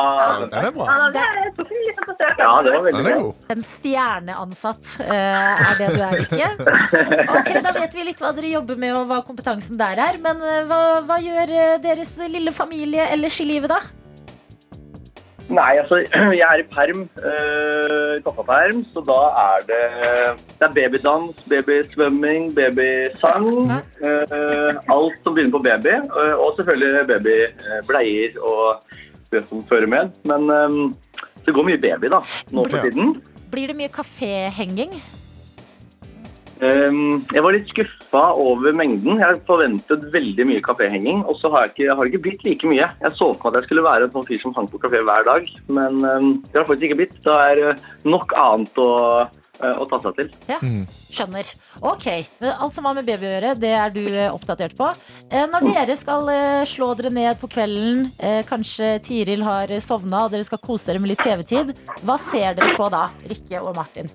C: Den er bra.
H: Ja,
B: det
H: det
B: er-
H: er litt forsøk.
G: Ja, det var veldig
C: Den
G: bra.
C: er god.
B: En stjerneansatt eh, er det du er, ikke? Ok, Da vet vi litt hva dere jobber med, og hva kompetansen der er. Men eh, hva, hva gjør eh, deres lille familie ellers i livet, da?
G: Nei, altså, jeg er i perm, eh, i pappaperm, så da er det, det er babydans, babysvømming, babysang, eh, alt som begynner på baby, eh, og selvfølgelig babybleier og det som fører med. Men eh, det går mye baby da,
C: Ja.
G: nå for tiden.
B: Blir det mye kaféhenging?
G: Eh, jeg var litt skuffa over mengden. Jeg forventet veldig mye kaféhenging, og så har, jeg ikke, har det ikke blitt like mye. Jeg så for meg at jeg skulle være en sånn fyr som hang på kafé hver dag, men eh, det har faktisk ikke blitt. Det er eh, nok annet å, eh, å ta seg til.
B: Skjønner. Ok, men Alt som har med baby å gjøre, det er du eh, oppdatert på. Eh, Når dere skal eh, slå dere ned på kvelden, eh, kanskje Tiril har sovna og dere skal kose dere med litt TV-tid, hva ser dere på da, Rikke og Martin?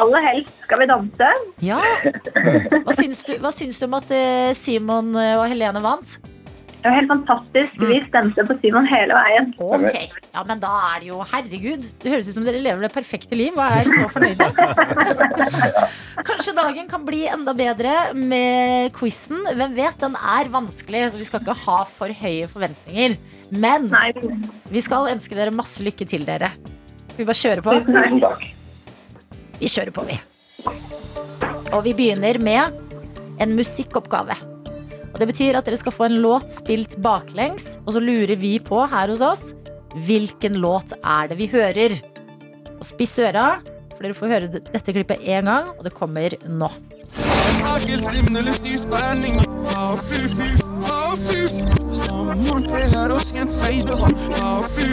H: Aller helst skal vi danse.
B: Ja, Hva syns du, hva syns du om at eh, Simon og Helene vant?
H: Det var helt fantastisk. Vi stemte på Simon hele veien.
B: Ok, ja, men da er det jo Herregud, det høres ut som dere lever det perfekte liv. Hva er så fornøyde? Kanskje dagen kan bli enda bedre med quizen. Hvem vet, den er vanskelig, så vi skal ikke ha for høye forventninger. Men
H: Nei,
B: vi skal ønske dere masse lykke til, dere. Skal vi bare kjøre på?
H: tusen takk.
G: Tusen takk.
B: Vi kjører på, vi. Og vi begynner med en musikkoppgave. Og det betyr at dere skal få en låt spilt baklengs, og så lurer vi på her hos oss hvilken låt er det vi hører. Og spiss øra, for dere får høre det- dette klippet én gang, og det kommer nå.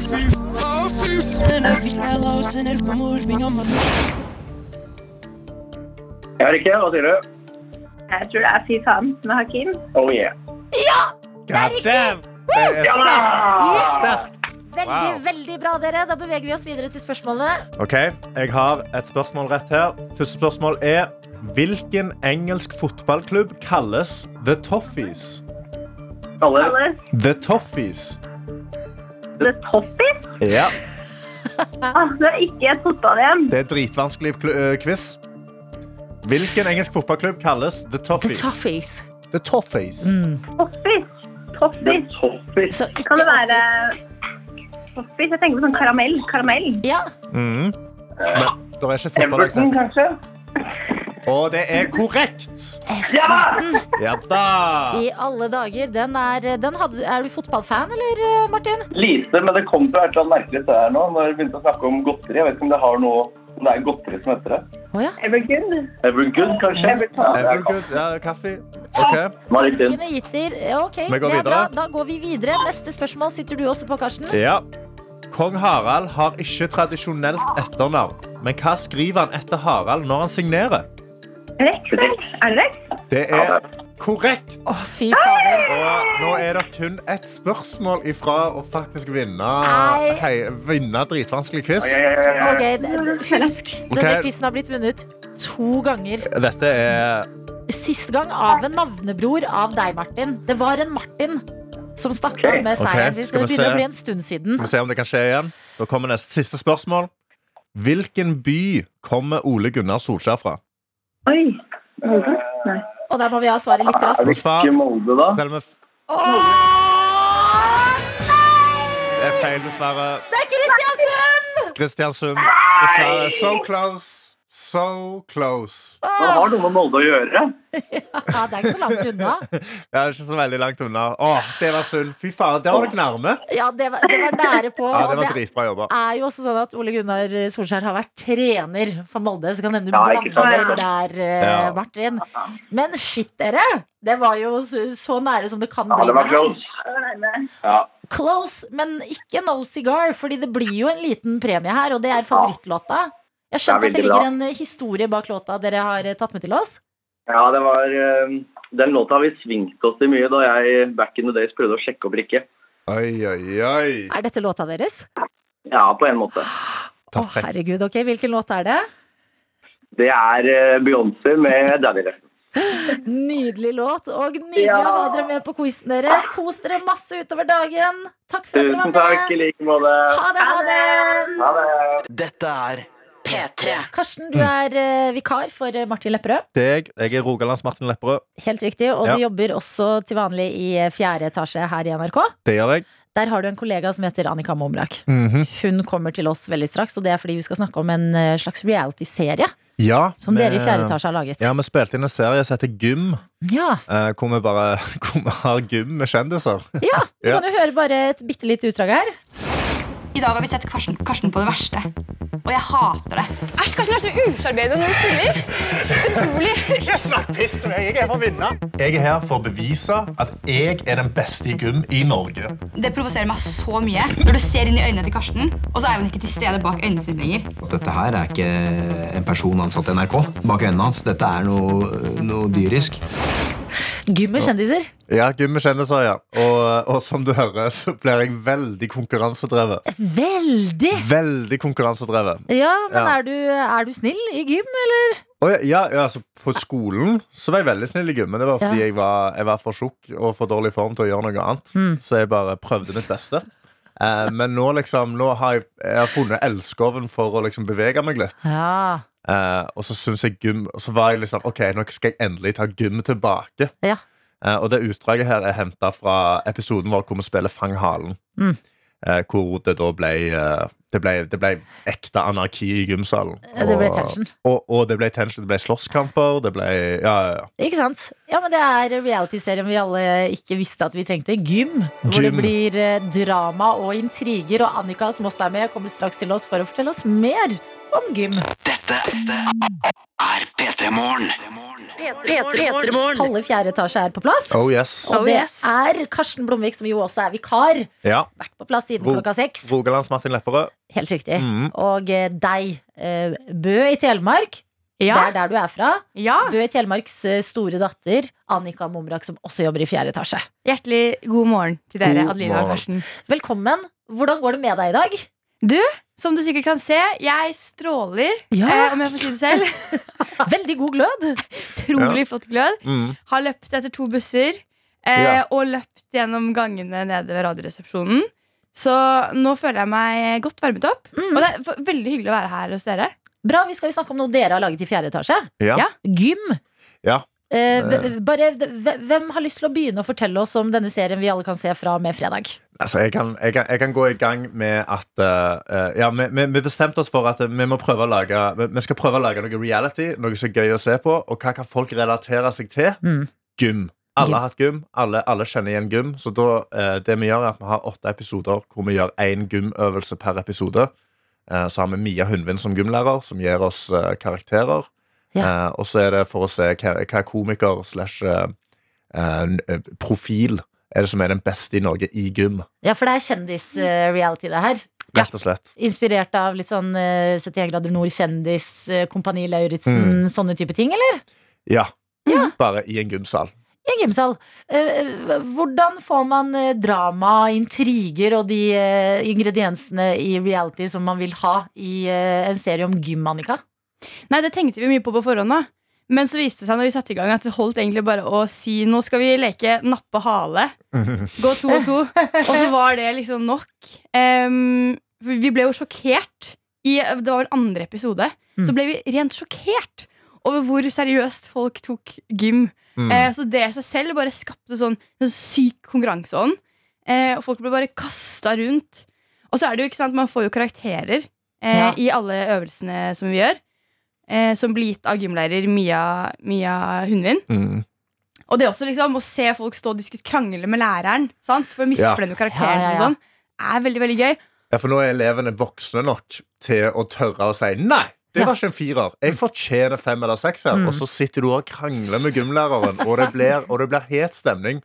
G: Jeg er ikke, hva sier du?
H: Jeg tror det er Fy faen med Hakim.
G: Oh yeah.
C: God damn! Det er sterkt. sterkt.
B: Veldig, veldig bra, dere. Da beveger vi oss videre til spørsmålet.
C: OK, jeg har et spørsmål rett her. Første spørsmål er Hvilken engelsk fotballklubb kalles The Toffees?
G: Alle
H: Kalles
C: The Toffees.
H: The Toffees.
C: Ja.
H: Ah, det er ikke et fotball-EM.
C: Det er et dritvanskelig pl- øh, quiz. Hvilken engelsk fotballklubb kalles The Mm. Toffees?
B: Toffees.
C: The Toffees.
H: Toffees.
G: The
H: Toffees.
G: Toffees.
B: Så ikke
H: Kan det være
B: office.
H: Toffees? Jeg tenker på sånn karamell. Karamell.
B: Ja.
C: Mhm. Men det er ikke et fotballag som
G: Everton,
C: heter
G: kanskje?
C: Og det er korrekt!
G: Ja!
C: Ja da!
B: I alle dager. Den er, den hadde, er du fotballfan, eller, eh, Martin?
G: Lite, men det kom fra et eller annet merkelig sted her nå. Når vi begynte å snakke om godteri. Jeg vet ikke om det har noe om det er godteri som heter det.
B: Å ja.
H: Evergood.
G: Evergood, kanskje? Ja, det er
C: Evergood, ja, kaffe. Ok.
G: kaffe. Var litt inn.
B: Kunne gitt dere- Ok, det
C: Vi går
B: er bra.
C: videre.
B: Da går vi videre. Neste spørsmål sitter du også på, Karsten.
C: Ja. Kong Harald har ikke tradisjonelt etternavn. Men hva skriver han etter Harald når han signerer?
H: Rex. vel? Er det Rex?
C: Det er korrekt!
B: Fy fader.
C: Og nå er det kun ett spørsmål ifra å faktisk vinne,
B: Nei.
C: hei, vinne dritvanskelig quiz.
G: Ja, ja, ja, ja.
B: Ok, d- Husk, denne
C: Ok.
B: quizen har blitt vunnet to ganger.
C: Dette er
B: Sist gang av en navnebror av deg, Martin. Det var en Martin som stakk av med
C: Ok,
B: seieren sin. Så
C: skal
B: det
C: vi
B: begynner
C: se.
B: å bli en stund siden.
C: Skal vi se om det kan skje igjen. Da kommer neste siste spørsmål. Hvilken by kommer Ole Gunnar Solskjær fra?
H: Oi. Molde? Nei.
B: Og der må vi ha svaret litt
G: Er
B: raskt.
G: det ikke Molde, da?
C: Selv om det f- det er feil, dessverre.
B: Det er Kristiansund!
C: Kristiansund. Dessverre. So close. So close.
G: Det har noe med Molde å gjøre.
B: Ja, det er ikke så langt unna.
C: Det er ikke så veldig langt unna. Åh, det var synd. Fy faen, der var dere nærme.
B: Ja, det var, det var nære på.
C: Ja,
B: og
C: det var
B: det
C: dritbra jobba.
B: er jo også sånn at Ole Gunnar Solskjær har vært trener for Molde, så kan hende du
G: Ja,
B: blander
G: ikke sant,
B: deg
G: ikke
B: der, eh,
C: Ja.
B: Martin. Men shit, dere! Det var jo så så nære som det kan
G: Ja,
B: bli.
G: det var
B: her.
G: close.
H: Det var nærme.
G: Ja.
B: Close, men ikke No Cigar, fordi det blir jo en liten premie her, og det er favorittlåta. Jeg skjønner
G: Det er
B: at det
G: veldig
B: ligger en eh, historie bak låta dere har eh, tatt med til oss.
G: Ja, det var eh, Den låta har vi svingt oss til mye da jeg back in the days prøvde å sjekke opp Rikke.
C: Oi, oi, oi.
B: Er dette låta deres?
G: Ja, på en måte.
B: Å, herregud, ok. Hvilken låt er det?
G: Det er eh, Beyoncé med Daddy Left.
B: Nydelig låt, og nydelig
G: Ja.
B: å ha dere med på quizen, dere. Kos dere masse utover dagen. Takk for at
G: Tusen
B: dere var
G: takk i
B: med.
G: like måte.
B: Ha det, ha det.
G: Ha det.
F: Dette er
E: P3.
B: Karsten, du er eh, vikar for eh, Martin Lepperød.
C: Det er jeg. Jeg er Rogalands Martin Lepperød.
B: Helt riktig. Og
C: Ja.
B: du jobber også til vanlig i eh, fjerde etasje her i NRK.
C: Det gjør jeg.
B: Der har du en kollega som heter Annika Momrak. Hun kommer til oss veldig straks, og det er fordi vi skal snakke om en eh, slags reality-serie
C: Ja,
B: som
C: vi- eh,
B: dere i fjerde etasje har laget.
C: Ja, Vi spilte inn en serie som heter Gym,
B: Ja,
C: eh, hvor vi bare hvor vi har gym med kjendiser.
B: ja Vi
C: Ja.
B: kan jo høre bare et bitte lite utdrag her.
I: I dag har vi sett Karsten, Karsten på det verste. Og jeg hater det. Æsj, Karsten er så usjarmerende når du spiller. Utrolig.
C: Jeg er her for å bevise at jeg er den beste i gym i Norge.
I: Det provoserer meg så mye når du ser inn i øynene til Karsten, og så er han ikke til stede bak øynene sine lenger.
F: Dette her er ikke en person ansatt i NRK. Bak øynene hans. Dette er noe, noe dyrisk.
B: Gym med kjendiser.
C: Ja, gym med kjendiser, ja. Og, og som du hører, så blir jeg veldig konkurransedrevet.
B: Veldig!
C: Veldig konkurransedrevet.
B: Ja, men
C: Ja.
B: Er, du, er du snill i gym, eller?
C: Og ja, ja, altså På skolen så var jeg veldig snill i gym, men det var fordi
B: Ja.
C: jeg, var, jeg var for tjukk og for dårlig i form til å gjøre noe annet.
B: Mm.
C: Så jeg bare prøvde mitt beste. Eh, men nå liksom, nå har jeg, jeg har funnet elskoven for å liksom bevege meg litt.
B: Ja.
C: Eh, og så synes jeg gym Og så var jeg liksom Ok, nå skal jeg endelig ta gym tilbake.
B: Ja.
C: Eh, og det utdraget her er henta fra episoden vår hvor vi spiller Fang halen.
B: Mm.
C: Eh, hvor det da ble, eh, det ble Det ble ekte anarki i gymsalen.
B: Det ble
C: Og-
B: tension.
C: Og, og det ble tension. Det ble slåsskamper. Det ble Ja, ja, ja.
B: Ikke sant? Ja, men Det er reality-serien vi alle ikke visste at vi trengte. Gym. Hvor det
C: Gym.
B: blir eh, drama og intriger. Og Annika, som også er med, kommer straks til oss for å fortelle oss mer om gym.
F: Er P3 Morgen.
E: P3morgen.
B: Halve fjerde etasje er på plass.
C: Oh yes.
B: Og det er Karsten Blomvik, som jo også er vikar.
C: Ja.
B: Vært på plass siden
C: Ro-
B: klokka seks. Eh.
C: Rogalands Martin Lepperød.
B: Helt riktig.
C: Mhm.
B: Og eh, deg, eh, Bø i Telemark. Det
J: Ja. Ah.
B: er der du er fra.
J: ja.
B: Bø Telemarks eh, store datter, Annika Momrak, som også jobber i fjerde etasje.
J: Hjertelig god morgen til dere,
C: God
J: Adelina og
C: morgen.
J: Karsten.
B: Velkommen. Hvordan går det med deg i dag?
J: Som du sikkert kan se, jeg stråler, eh, om jeg får si det selv.
B: Veldig god glød.
J: Utrolig flott glød.
C: Mm.
J: Har løpt etter to busser eh,
C: Ja.
J: og løpt gjennom gangene nede ved Radioresepsjonen. Så nå føler jeg meg godt varmet opp.
C: Mm.
J: Og det er v- veldig hyggelig å være her hos dere.
B: Bra, vi skal jo snakke om noe dere har laget i fjerde etasje.
C: Ja.
J: Ja.
B: Gym.
C: Ja.
B: Eh, hve- bare, hve- hvem har lyst til å begynne å fortelle oss om denne serien vi alle kan se fra og med fredag?
C: Altså, jeg kan, jeg, kan, jeg kan gå i gang med at eh, Ja, vi, vi, vi bestemte oss for at vi må prøve å lage vi, vi skal prøve å lage noe reality, noe som er gøy å se på, og hva kan folk relatere seg til?
B: Mm.
C: Gym. Alle
B: Gym.
C: har hatt gym. Alle, alle kjenner igjen gym. Så da, eh, det vi gjør, er at vi har åtte episoder hvor vi gjør én gymøvelse per episode. Eh, så har vi Mia Hundvin som gymlærer, som gir oss eh, karakterer.
B: Ja.
C: Eh, og så er det for å se hva, hva komiker slash eh, eh, n- eh, profil er det som er den beste i Norge i gym.
B: Ja, for det er kjendis-reality, det her.
C: Rett og slett.
B: Inspirert av litt sånn eh, 71 grader nord, kjendis, eh, Kompani Lauritzen, sånne type ting, eller?
C: Ja. Bare i en gymsal.
B: I en gymsal. Eh, hvordan får man eh, drama, intriger og de eh, ingrediensene i reality som man vil ha i eh, en serie om gym, Annika?
J: Nei, det tenkte vi mye på på forhånd da. Men så viste det seg når vi satte i gang at det holdt egentlig bare å si nå skal vi leke nappe hale.
B: Mm.
J: Gå to og to. Og så var det liksom nok. Ehm, for vi ble jo sjokkert. I, det var vel andre episode. Så
B: Mm.
J: ble vi rent sjokkert over hvor seriøst folk tok gym.
C: Mm.
J: Eh, så det i seg selv bare skapte sånn, sånn syk konkurranseånd. Eh, og folk ble bare kasta rundt. Og så er det jo ikke sant, man får jo karakterer eh,
B: Ja.
J: i alle øvelsene som vi gjør. Eh, som blir gitt av gymlærer Mia, Mia Hundvin.
C: Mm.
J: Og det er også liksom å se folk stå og diskut- krangle med læreren. Sant? For å
C: Ja.
J: misfornøye
B: Ja,
J: karakteren
B: ja,
J: sin
B: ja.
J: og sånn. Er veldig, veldig gøy.
C: Ja, for nå er elevene voksne nok til å tørre å si nei. Det
B: Ja.
C: var ikke en firer. Jeg fortjener fem eller seks her.
B: Mm.
C: Og så sitter du og krangler med gymlæreren, og det blir, og det blir het stemning.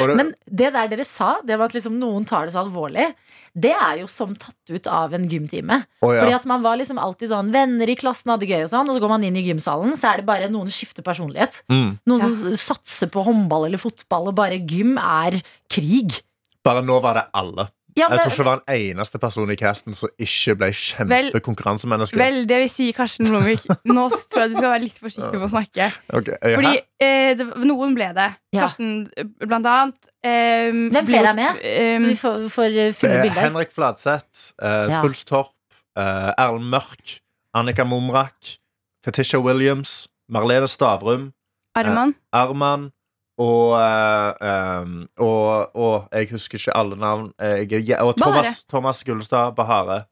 C: Og det,
B: Men det der dere sa, det med at liksom noen tar det så alvorlig, det er jo som tatt ut av en gymtime.
C: Å, ja.
B: Fordi at man var liksom alltid sånn venner i klassen hadde gøy og sånn, og så går man inn i gymsalen, så er det bare noen skifter personlighet.
C: Mm.
B: Noen som s- satser på håndball eller fotball, og bare gym er krig.
C: Bare nå var det alle.
B: Ja,
C: Jeg
B: men,
C: tror ikke det var en eneste person i casten som ikke ble kjempekonkurransemenneske.
J: Vel, det vil si, Karsten Blomvik, nå s- tror jeg du skal være litt forsiktig med å snakke.
C: Ok, eh,
J: Fordi
C: hæ?
J: eh, det, noen ble det.
B: Ja.
J: Karsten, eh, blant annet. ehm, Eh,
B: Hvem flere er med? så vi får, får eh,
C: Det
B: fulle
C: er
B: bilder.
C: Henrik Fladseth, eh,
B: Ja.
C: Truls Torp, eh, Erlend Mørk, Annika Momrak, Fetisha Williams, Marlene Stavrum,
J: Arman.
C: Arman og, eh, um, og, og jeg husker ikke alle navn. Jeg, er- ja, og Thomas, Thomas Gullestad, Bahare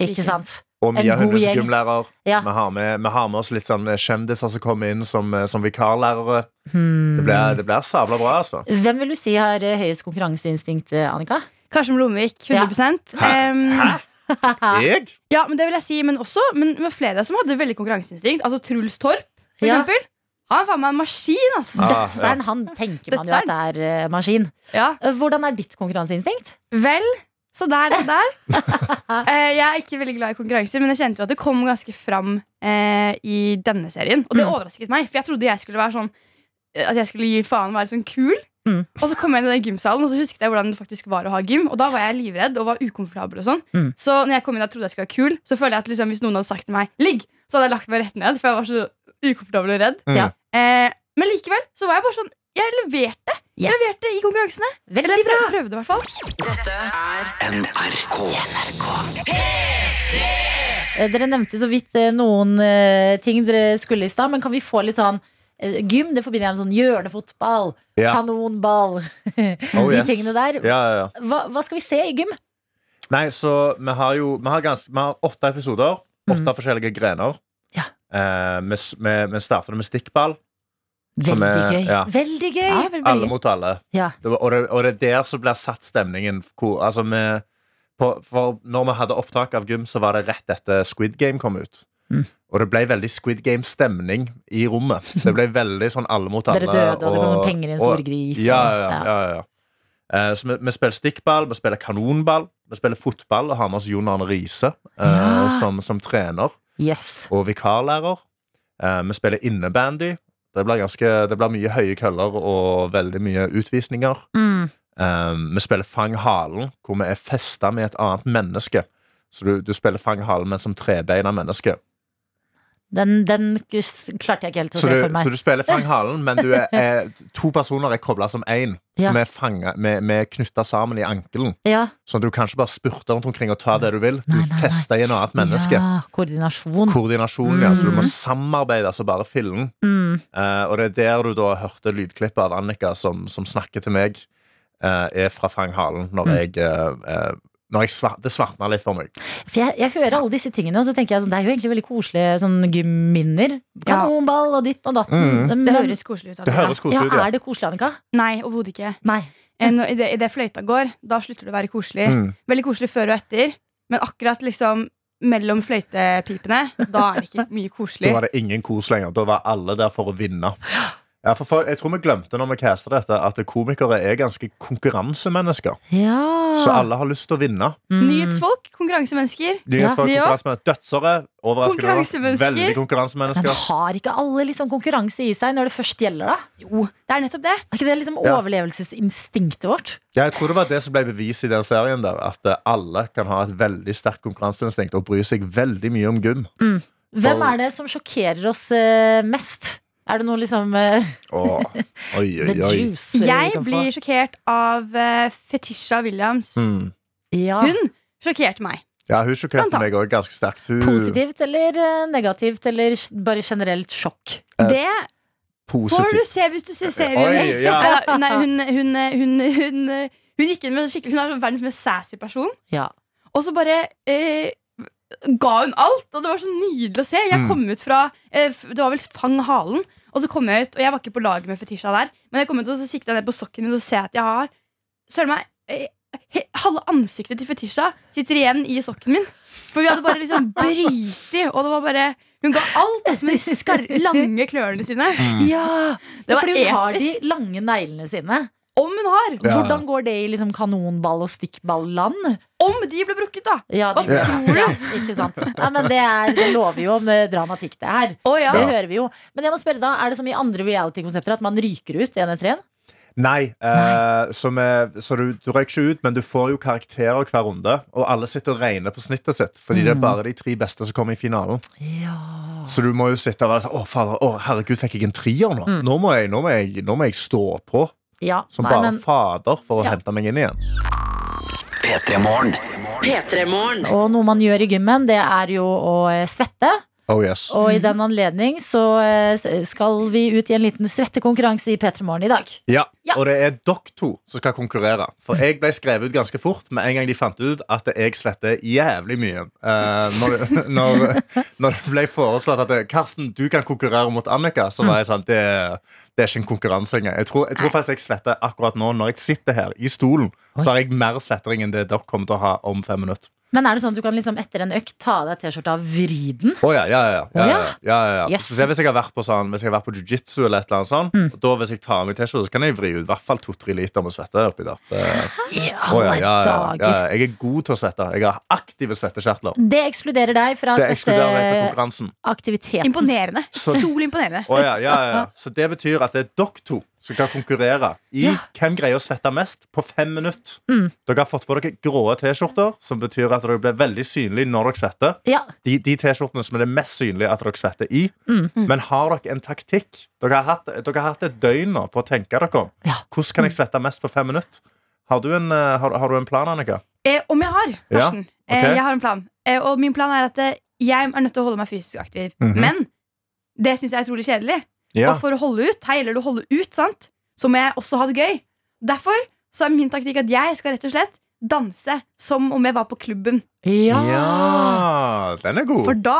B: Ikke sant?
C: og Mia
B: god
C: Hundnes
B: gjeng.
C: gymlærer.
B: Ja.
C: Vi, har med, vi har med oss litt sånn kjendiser som kommer inn som, eh, som vikarlærere.
B: Hmm.
C: Det blir, det blir sabla bra, altså.
B: Hvem vil du si har eh, høyest konkurranseinstinkt, eh, Annika?
J: Karsten Blomvik, 100
C: Hæ?
J: Em,
C: Jeg?
J: Ja, men det vil jeg si, men også men med flere som hadde veldig konkurranseinstinkt. Altså Truls Torp, for
B: Ja.
J: eksempel. Han er faen meg en maskin, altså. ass.
C: Ja. Ah,
B: Dødseren, han tenker man jo at det er eh, maskin.
J: Ja.
B: Eh, Hvordan er ditt konkurranseinstinkt?
J: Vel, så der og der. Eh, jeg er ikke veldig glad i konkurranser, men jeg kjente jo at det kom ganske fram eh, i denne serien. Og det
B: Mm.
J: overrasket meg, for jeg trodde jeg skulle være sånn eh, at jeg skulle gi faen være sånn kul.
B: Mm.
J: Og så kom jeg inn i den gymsalen, og så husket jeg hvordan det faktisk var å ha gym. Og da var jeg livredd og var ukomfortabel og sånn.
B: Mm.
J: Så når jeg kom inn og trodde jeg skulle være kul, så føler jeg at liksom, hvis noen hadde sagt til meg 'ligg', så hadde jeg lagt meg rett ned, for jeg var så ukomfortabel og redd.
C: Mm.
B: Ja.
J: Eh, men likevel så var jeg bare sånn Jeg leverte,
B: Yes.
J: jeg leverte i konkurransene. Eller
B: Veldig
J: jeg
B: bra.
J: prøv- prøvde, i hvert fall.
B: Eh, Dere nevnte så vidt eh, noen eh, ting dere skulle i stad, men kan vi få litt sånn eh, Gym det forbinder jeg med sånn hjørnefotball,
C: Ja.
B: kanonball,
C: Oh,
B: de
C: yes.
B: tingene der.
C: Ja, ja, ja.
B: Hva, hva skal vi se i gym?
C: Nei, så vi har jo Vi har, gans, vi har åtte episoder. Åtte forskjellige grener.
B: Mm. Ja.
C: Eh, vi, s- vi, vi starter med stikkball. Som
B: Veldig
C: er-
B: gøy.
C: ja.
B: Veldig gøy.
J: Ja, veldig
C: Alle mot alle.
B: Ja.
C: Det var, og, det, og det er der som blir satt stemningen. Hvor, altså, vi, på, for når vi hadde opptak av gym, så var det rett etter Squid Game kom ut.
B: Mm.
C: Og det ble veldig Squid Game-stemning i rommet. Det ble veldig sånn alle mot alle.
B: Dere døde, og det kom sånn penger i en stor
C: og-
B: gris. og-
C: Ja, ja, ja, ja, ja. Eh, Så vi, vi spiller stikkball, vi spiller kanonball, vi spiller fotball og har med oss Jon Arne Riise eh,
B: Ja.
C: som, som trener
B: Yes.
C: og vikarlærer. Eh, vi spiller innebandy. Det blir, ganske, det blir mye høye køller og veldig mye utvisninger.
B: Mm.
C: Eh, vi spiller Fang halen, hvor vi er festa med et annet menneske. Så du, du spiller Fang halen, men som trebeina menneske.
B: Den, den kus- klarte jeg ikke helt å
C: Så
B: se
C: du,
B: for meg.
C: så du spiller Fang halen, men du er, er, to personer er kobla som én.
B: Ja.
C: Så vi er, fanget- vi- vi er knytta sammen i ankelen.
B: Ja.
C: Sånn at du kan ikke bare spurte rundt omkring og ta det du vil. Du er festa i et annet menneske.
B: Ja, koordinasjon.
C: Koordinasjon, ja. Så du må
B: Mm.
C: samarbeide så bare fillen.
B: Mm.
C: Eh, og det er der du da hørte lydklippet av Annika som, som snakker til meg, eh, er fra Fang Halen, når
B: Mm.
C: jeg, eh, eh, når jeg svar Det svartna litt for meg.
B: For jeg, jeg hører alle disse tingene, og så tenker jeg sånn, det er jo egentlig veldig koselige sånn gymminner. Kanonball og ditt og datten.
C: Mm.
B: Men-
J: Det høres koselig ut.
C: Det høres koselig ut,
B: ja.
C: ja.
B: Er det koselig, Annika?
J: Nei, overhodet ikke.
B: Nei.
J: Eh, når- i det- Idet fløyta går, da slutter det å være koselig.
C: Mm.
J: Veldig koselig før og etter, men akkurat liksom mellom fløytepipene, da er det ikke mye
C: Da
J: koselig.
C: var det ingen kos lenger. Da var alle der for å vinne. Ja, for, for, jeg tror vi glemte når vi casta dette, at komikere er ganske konkurransemennesker.
B: Ja.
C: Så alle har lyst til å vinne.
B: Mm.
J: Nyhetsfolk, konkurransemennesker.
C: De er for
J: de også.
C: konkurransemennesker. Dødsere, overraskende nok.
J: Konkurransemennesker.
C: Veldig
B: Men
C: konkurransemennesker.
B: har ikke alle liksom konkurranse i seg når det først gjelder, da?
J: Jo, det er nettopp det.
B: Er ikke det liksom
C: Ja.
B: overlevelsesinstinktet vårt?
C: Ja, jeg tror det var det som ble bevis i den serien der, at eh, alle kan ha et veldig sterkt konkurranseinstinkt og bry seg veldig mye om gym.
B: Hvem
C: For-
B: er det som sjokkerer oss eh, mest? Er det noe liksom eh,
C: Åh, oi,
B: The
C: oi, oi.
B: juice eh, vi
J: Jeg
B: kan få?
J: blir sjokkert av eh, Fetisha Williams.
C: Mm.
B: ja.
J: Hun sjokkerte meg.
C: Ja, hun sjokkerte
J: Blant
C: meg også ganske sterkt. Hun,
B: Positivt eller eh, negativt eller bare generelt sjokk?
C: Eh,
J: Det får du
C: Positivt.
J: se hvis du ser serien.
C: Oi, ja.
J: Ja, Nei, hun, hun, hun, hun, hun gikk inn med skikkelig Hun er sånn verdens mest sassy person.
B: Ja.
J: Og så bare eh, ga hun alt, og det var så nydelig å se. Jeg
C: Mm.
J: kom ut fra eh, f- Det var vel Fang halen. Og så kom jeg ut, og jeg var ikke på lag med Fetisha der, men jeg kom ut og så kikket jeg ned på sokken min og så ser jeg at jeg har Søren meg, eh, he- halve ansiktet til Fetisha sitter igjen i sokken min. For vi hadde bare liksom briti, og det var bare Hun ga alt altså, med de skar lange klørne sine.
C: Mm.
B: Ja!
J: Det var
B: fordi hun har de
J: episk.
B: lange neglene sine.
J: Om hun har!
C: Ja.
B: Hvordan går det i liksom kanonball- og stikkballand?
J: Om de ble brukket, da!
B: Ja, det,
J: Hva tror
B: ja,
J: du?
B: ikke sant. Ja, men det, er, det lover jo om eh, dramatikk, det her.
J: Å ja.
B: Det hører vi jo. Men jeg må spørre da, er det som i andre reality-konsepter at man ryker ut én etter én?
C: Nei, eh, som er, så du, du røyker ikke ut, men du får jo karakterer hver runde. Og alle sitter og regner på snittet sitt, fordi det er bare de tre beste som kommer i finalen.
B: Mm. Ja.
C: Så du må jo sitte og være sånn Å, fader, å, herregud, fikk jeg en trier nå? Nå, må jeg, nå, må jeg, nå må jeg stå på som
B: Mm. nei,
C: bare
B: men,
C: fader for å
B: Ja.
C: hente meg inn igjen.
E: P3-morgen.
B: og noe man gjør i gymmen, det er jo å eh, svette.
C: Oh yes.
B: Og i den anledning så eh, s- skal vi ut i en liten svettekonkurranse i P3 Morgen i dag.
C: Ja,
B: Ja.
C: og det er dere to som skal konkurrere. For jeg ble skrevet ut ganske fort med en gang de fant ut at jeg svetter jævlig mye. Eh, når, når, når det ble foreslått at det, Karsten, du kan konkurrere mot Annika, så var jeg sånn Det, det er ikke en konkurranse engang. Jeg tror, jeg tror faktisk jeg svetter akkurat nå. Når jeg sitter her i stolen, så har jeg mer svettering enn det dere kommer til å ha om fem minutter.
B: Men er det sånn at du kan liksom etter en økt ta av deg T-skjorta og vri den?
C: Å ja, ja, ja, ja, ja, ja, ja, ja.
B: Yes. Mm.
C: Så Hvis jeg har vært på, sånn, hvis jeg har vært på jiu-jitsu eller et eller annet sånt, og da hvis jeg tar av meg T-skjorta, så kan jeg vri ut i hvert fall to-tre liter med svette oppi der. Det,
B: I
C: Å,
B: alle
C: ja, ja, ja, ja,
B: dager!
C: ja. Jeg er god til å svette. Jeg har aktive svettekjertler.
B: Det ekskluderer deg fra
C: Det ekskluderer meg fra konkurransen.
B: svetteaktiviteten.
J: Imponerende.
C: Så-
J: Sol imponerende.
C: Å, ja, ja, ja. Så det betyr at det er dere to som kan konkurrere i
B: Ja.
C: hvem greier å svette mest på fem minutter.
B: Mm.
C: Dere har fått på dere gråe T-skjorter, som betyr at dere blir veldig synlige når dere svetter.
B: Ja,
C: De, de T-skjortene som er det mest synlige at dere svetter i.
B: Mm.
C: Men har dere en taktikk? Dere har hatt, dere har hatt et døgn nå på å tenke dere om.
B: Ja. Mm.
C: Hvordan kan jeg svette mest på fem minutter? Har du en, eh, har, har du en plan, Annika?
J: Eh, om jeg har,
C: Ja,
J: Karsten. Eh,
C: ok.
J: jeg har en plan. Eh, og min plan er at eh, jeg er nødt til å holde meg fysisk aktiv.
C: Mhm.
J: Men det syns jeg er utrolig kjedelig. Og for å holde ut, her gjelder det å holde ut, sant? så må jeg også ha det gøy. Derfor så er min taktikk at jeg skal rett og slett danse som om jeg var på klubben.
B: ja.
C: Ja, den er god.
J: For da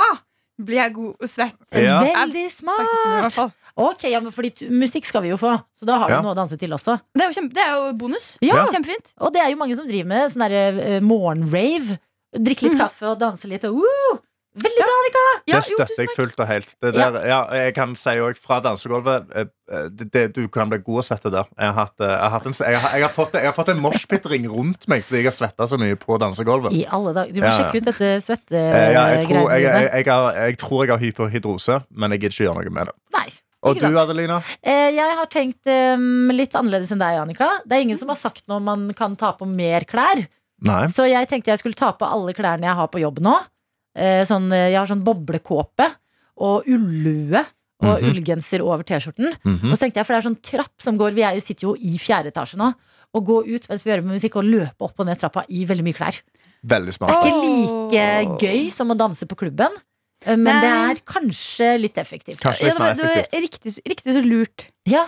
J: blir jeg god og svett.
C: Oh. Ja.
B: Veldig
J: Taktikken min i hvert
B: smart!
J: fall.
B: Ok, ja, men fordi t- Musikk skal vi jo få, så da har du
C: Ja.
B: noe å danse til også.
J: Det er jo, kjempe, det er jo bonus.
B: Ja.
J: Kjempefint.
B: Og det er jo mange som driver med sånn derre eh, morgenrave. Drikke litt
J: Mhm.
B: kaffe og danse litt og woo! Veldig bra, Annika!
C: det støtter jeg fullt og helt. Det der, ja. jeg kan si òg fra dansegulvet eh, eh, det, det, Du kan bli god å svette der. Jeg har, hatt, eh, jeg har, hatt en, jeg har, jeg har fått, jeg har fått en moshpit-ring rundt meg fordi jeg har svetta så mye på dansegulvet.
B: I alle dager. Du må
C: Ja, ja.
B: sjekke ut dette
C: Eh, ja, jeg, tror, jeg, jeg,
B: svettegreiene dine.
C: jeg, har, jeg tror jeg har hyperhidrose, men jeg gidder ikke gjøre noe med det.
B: Nei.
C: Og
B: ikke
C: du,
B: sant.
C: Adelina?
B: Eh, Jeg har tenkt em, litt annerledes enn deg, Annika. Det er ingen som har sagt noe om man kan ta på mer klær.
C: Nei.
B: Så jeg tenkte jeg skulle ta på alle klærne jeg har på jobb nå. Eh, Sånn, eh, jeg har sånn boblekåpe og ullue
K: Mhm.
B: og ullgenser over T-skjorten.
K: Mhm.
C: Mm.
B: Og så tenkte jeg, for det er sånn trapp som går Vi er, jo- sitter jo i fjerde etasje nå. Og gå ut mens vi hører på musikk, og løpe opp og ned trappa i veldig mye klær.
C: Veldig
B: Det er
C: smart.
B: ikke like gøy som å danse på klubben, eh, men
J: Nei.
B: det er kanskje litt effektivt.
C: Kanskje litt
J: Ja, det
C: mer
J: var-
C: effektivt.
J: Det var riktig, riktig så lurt.
B: Ja.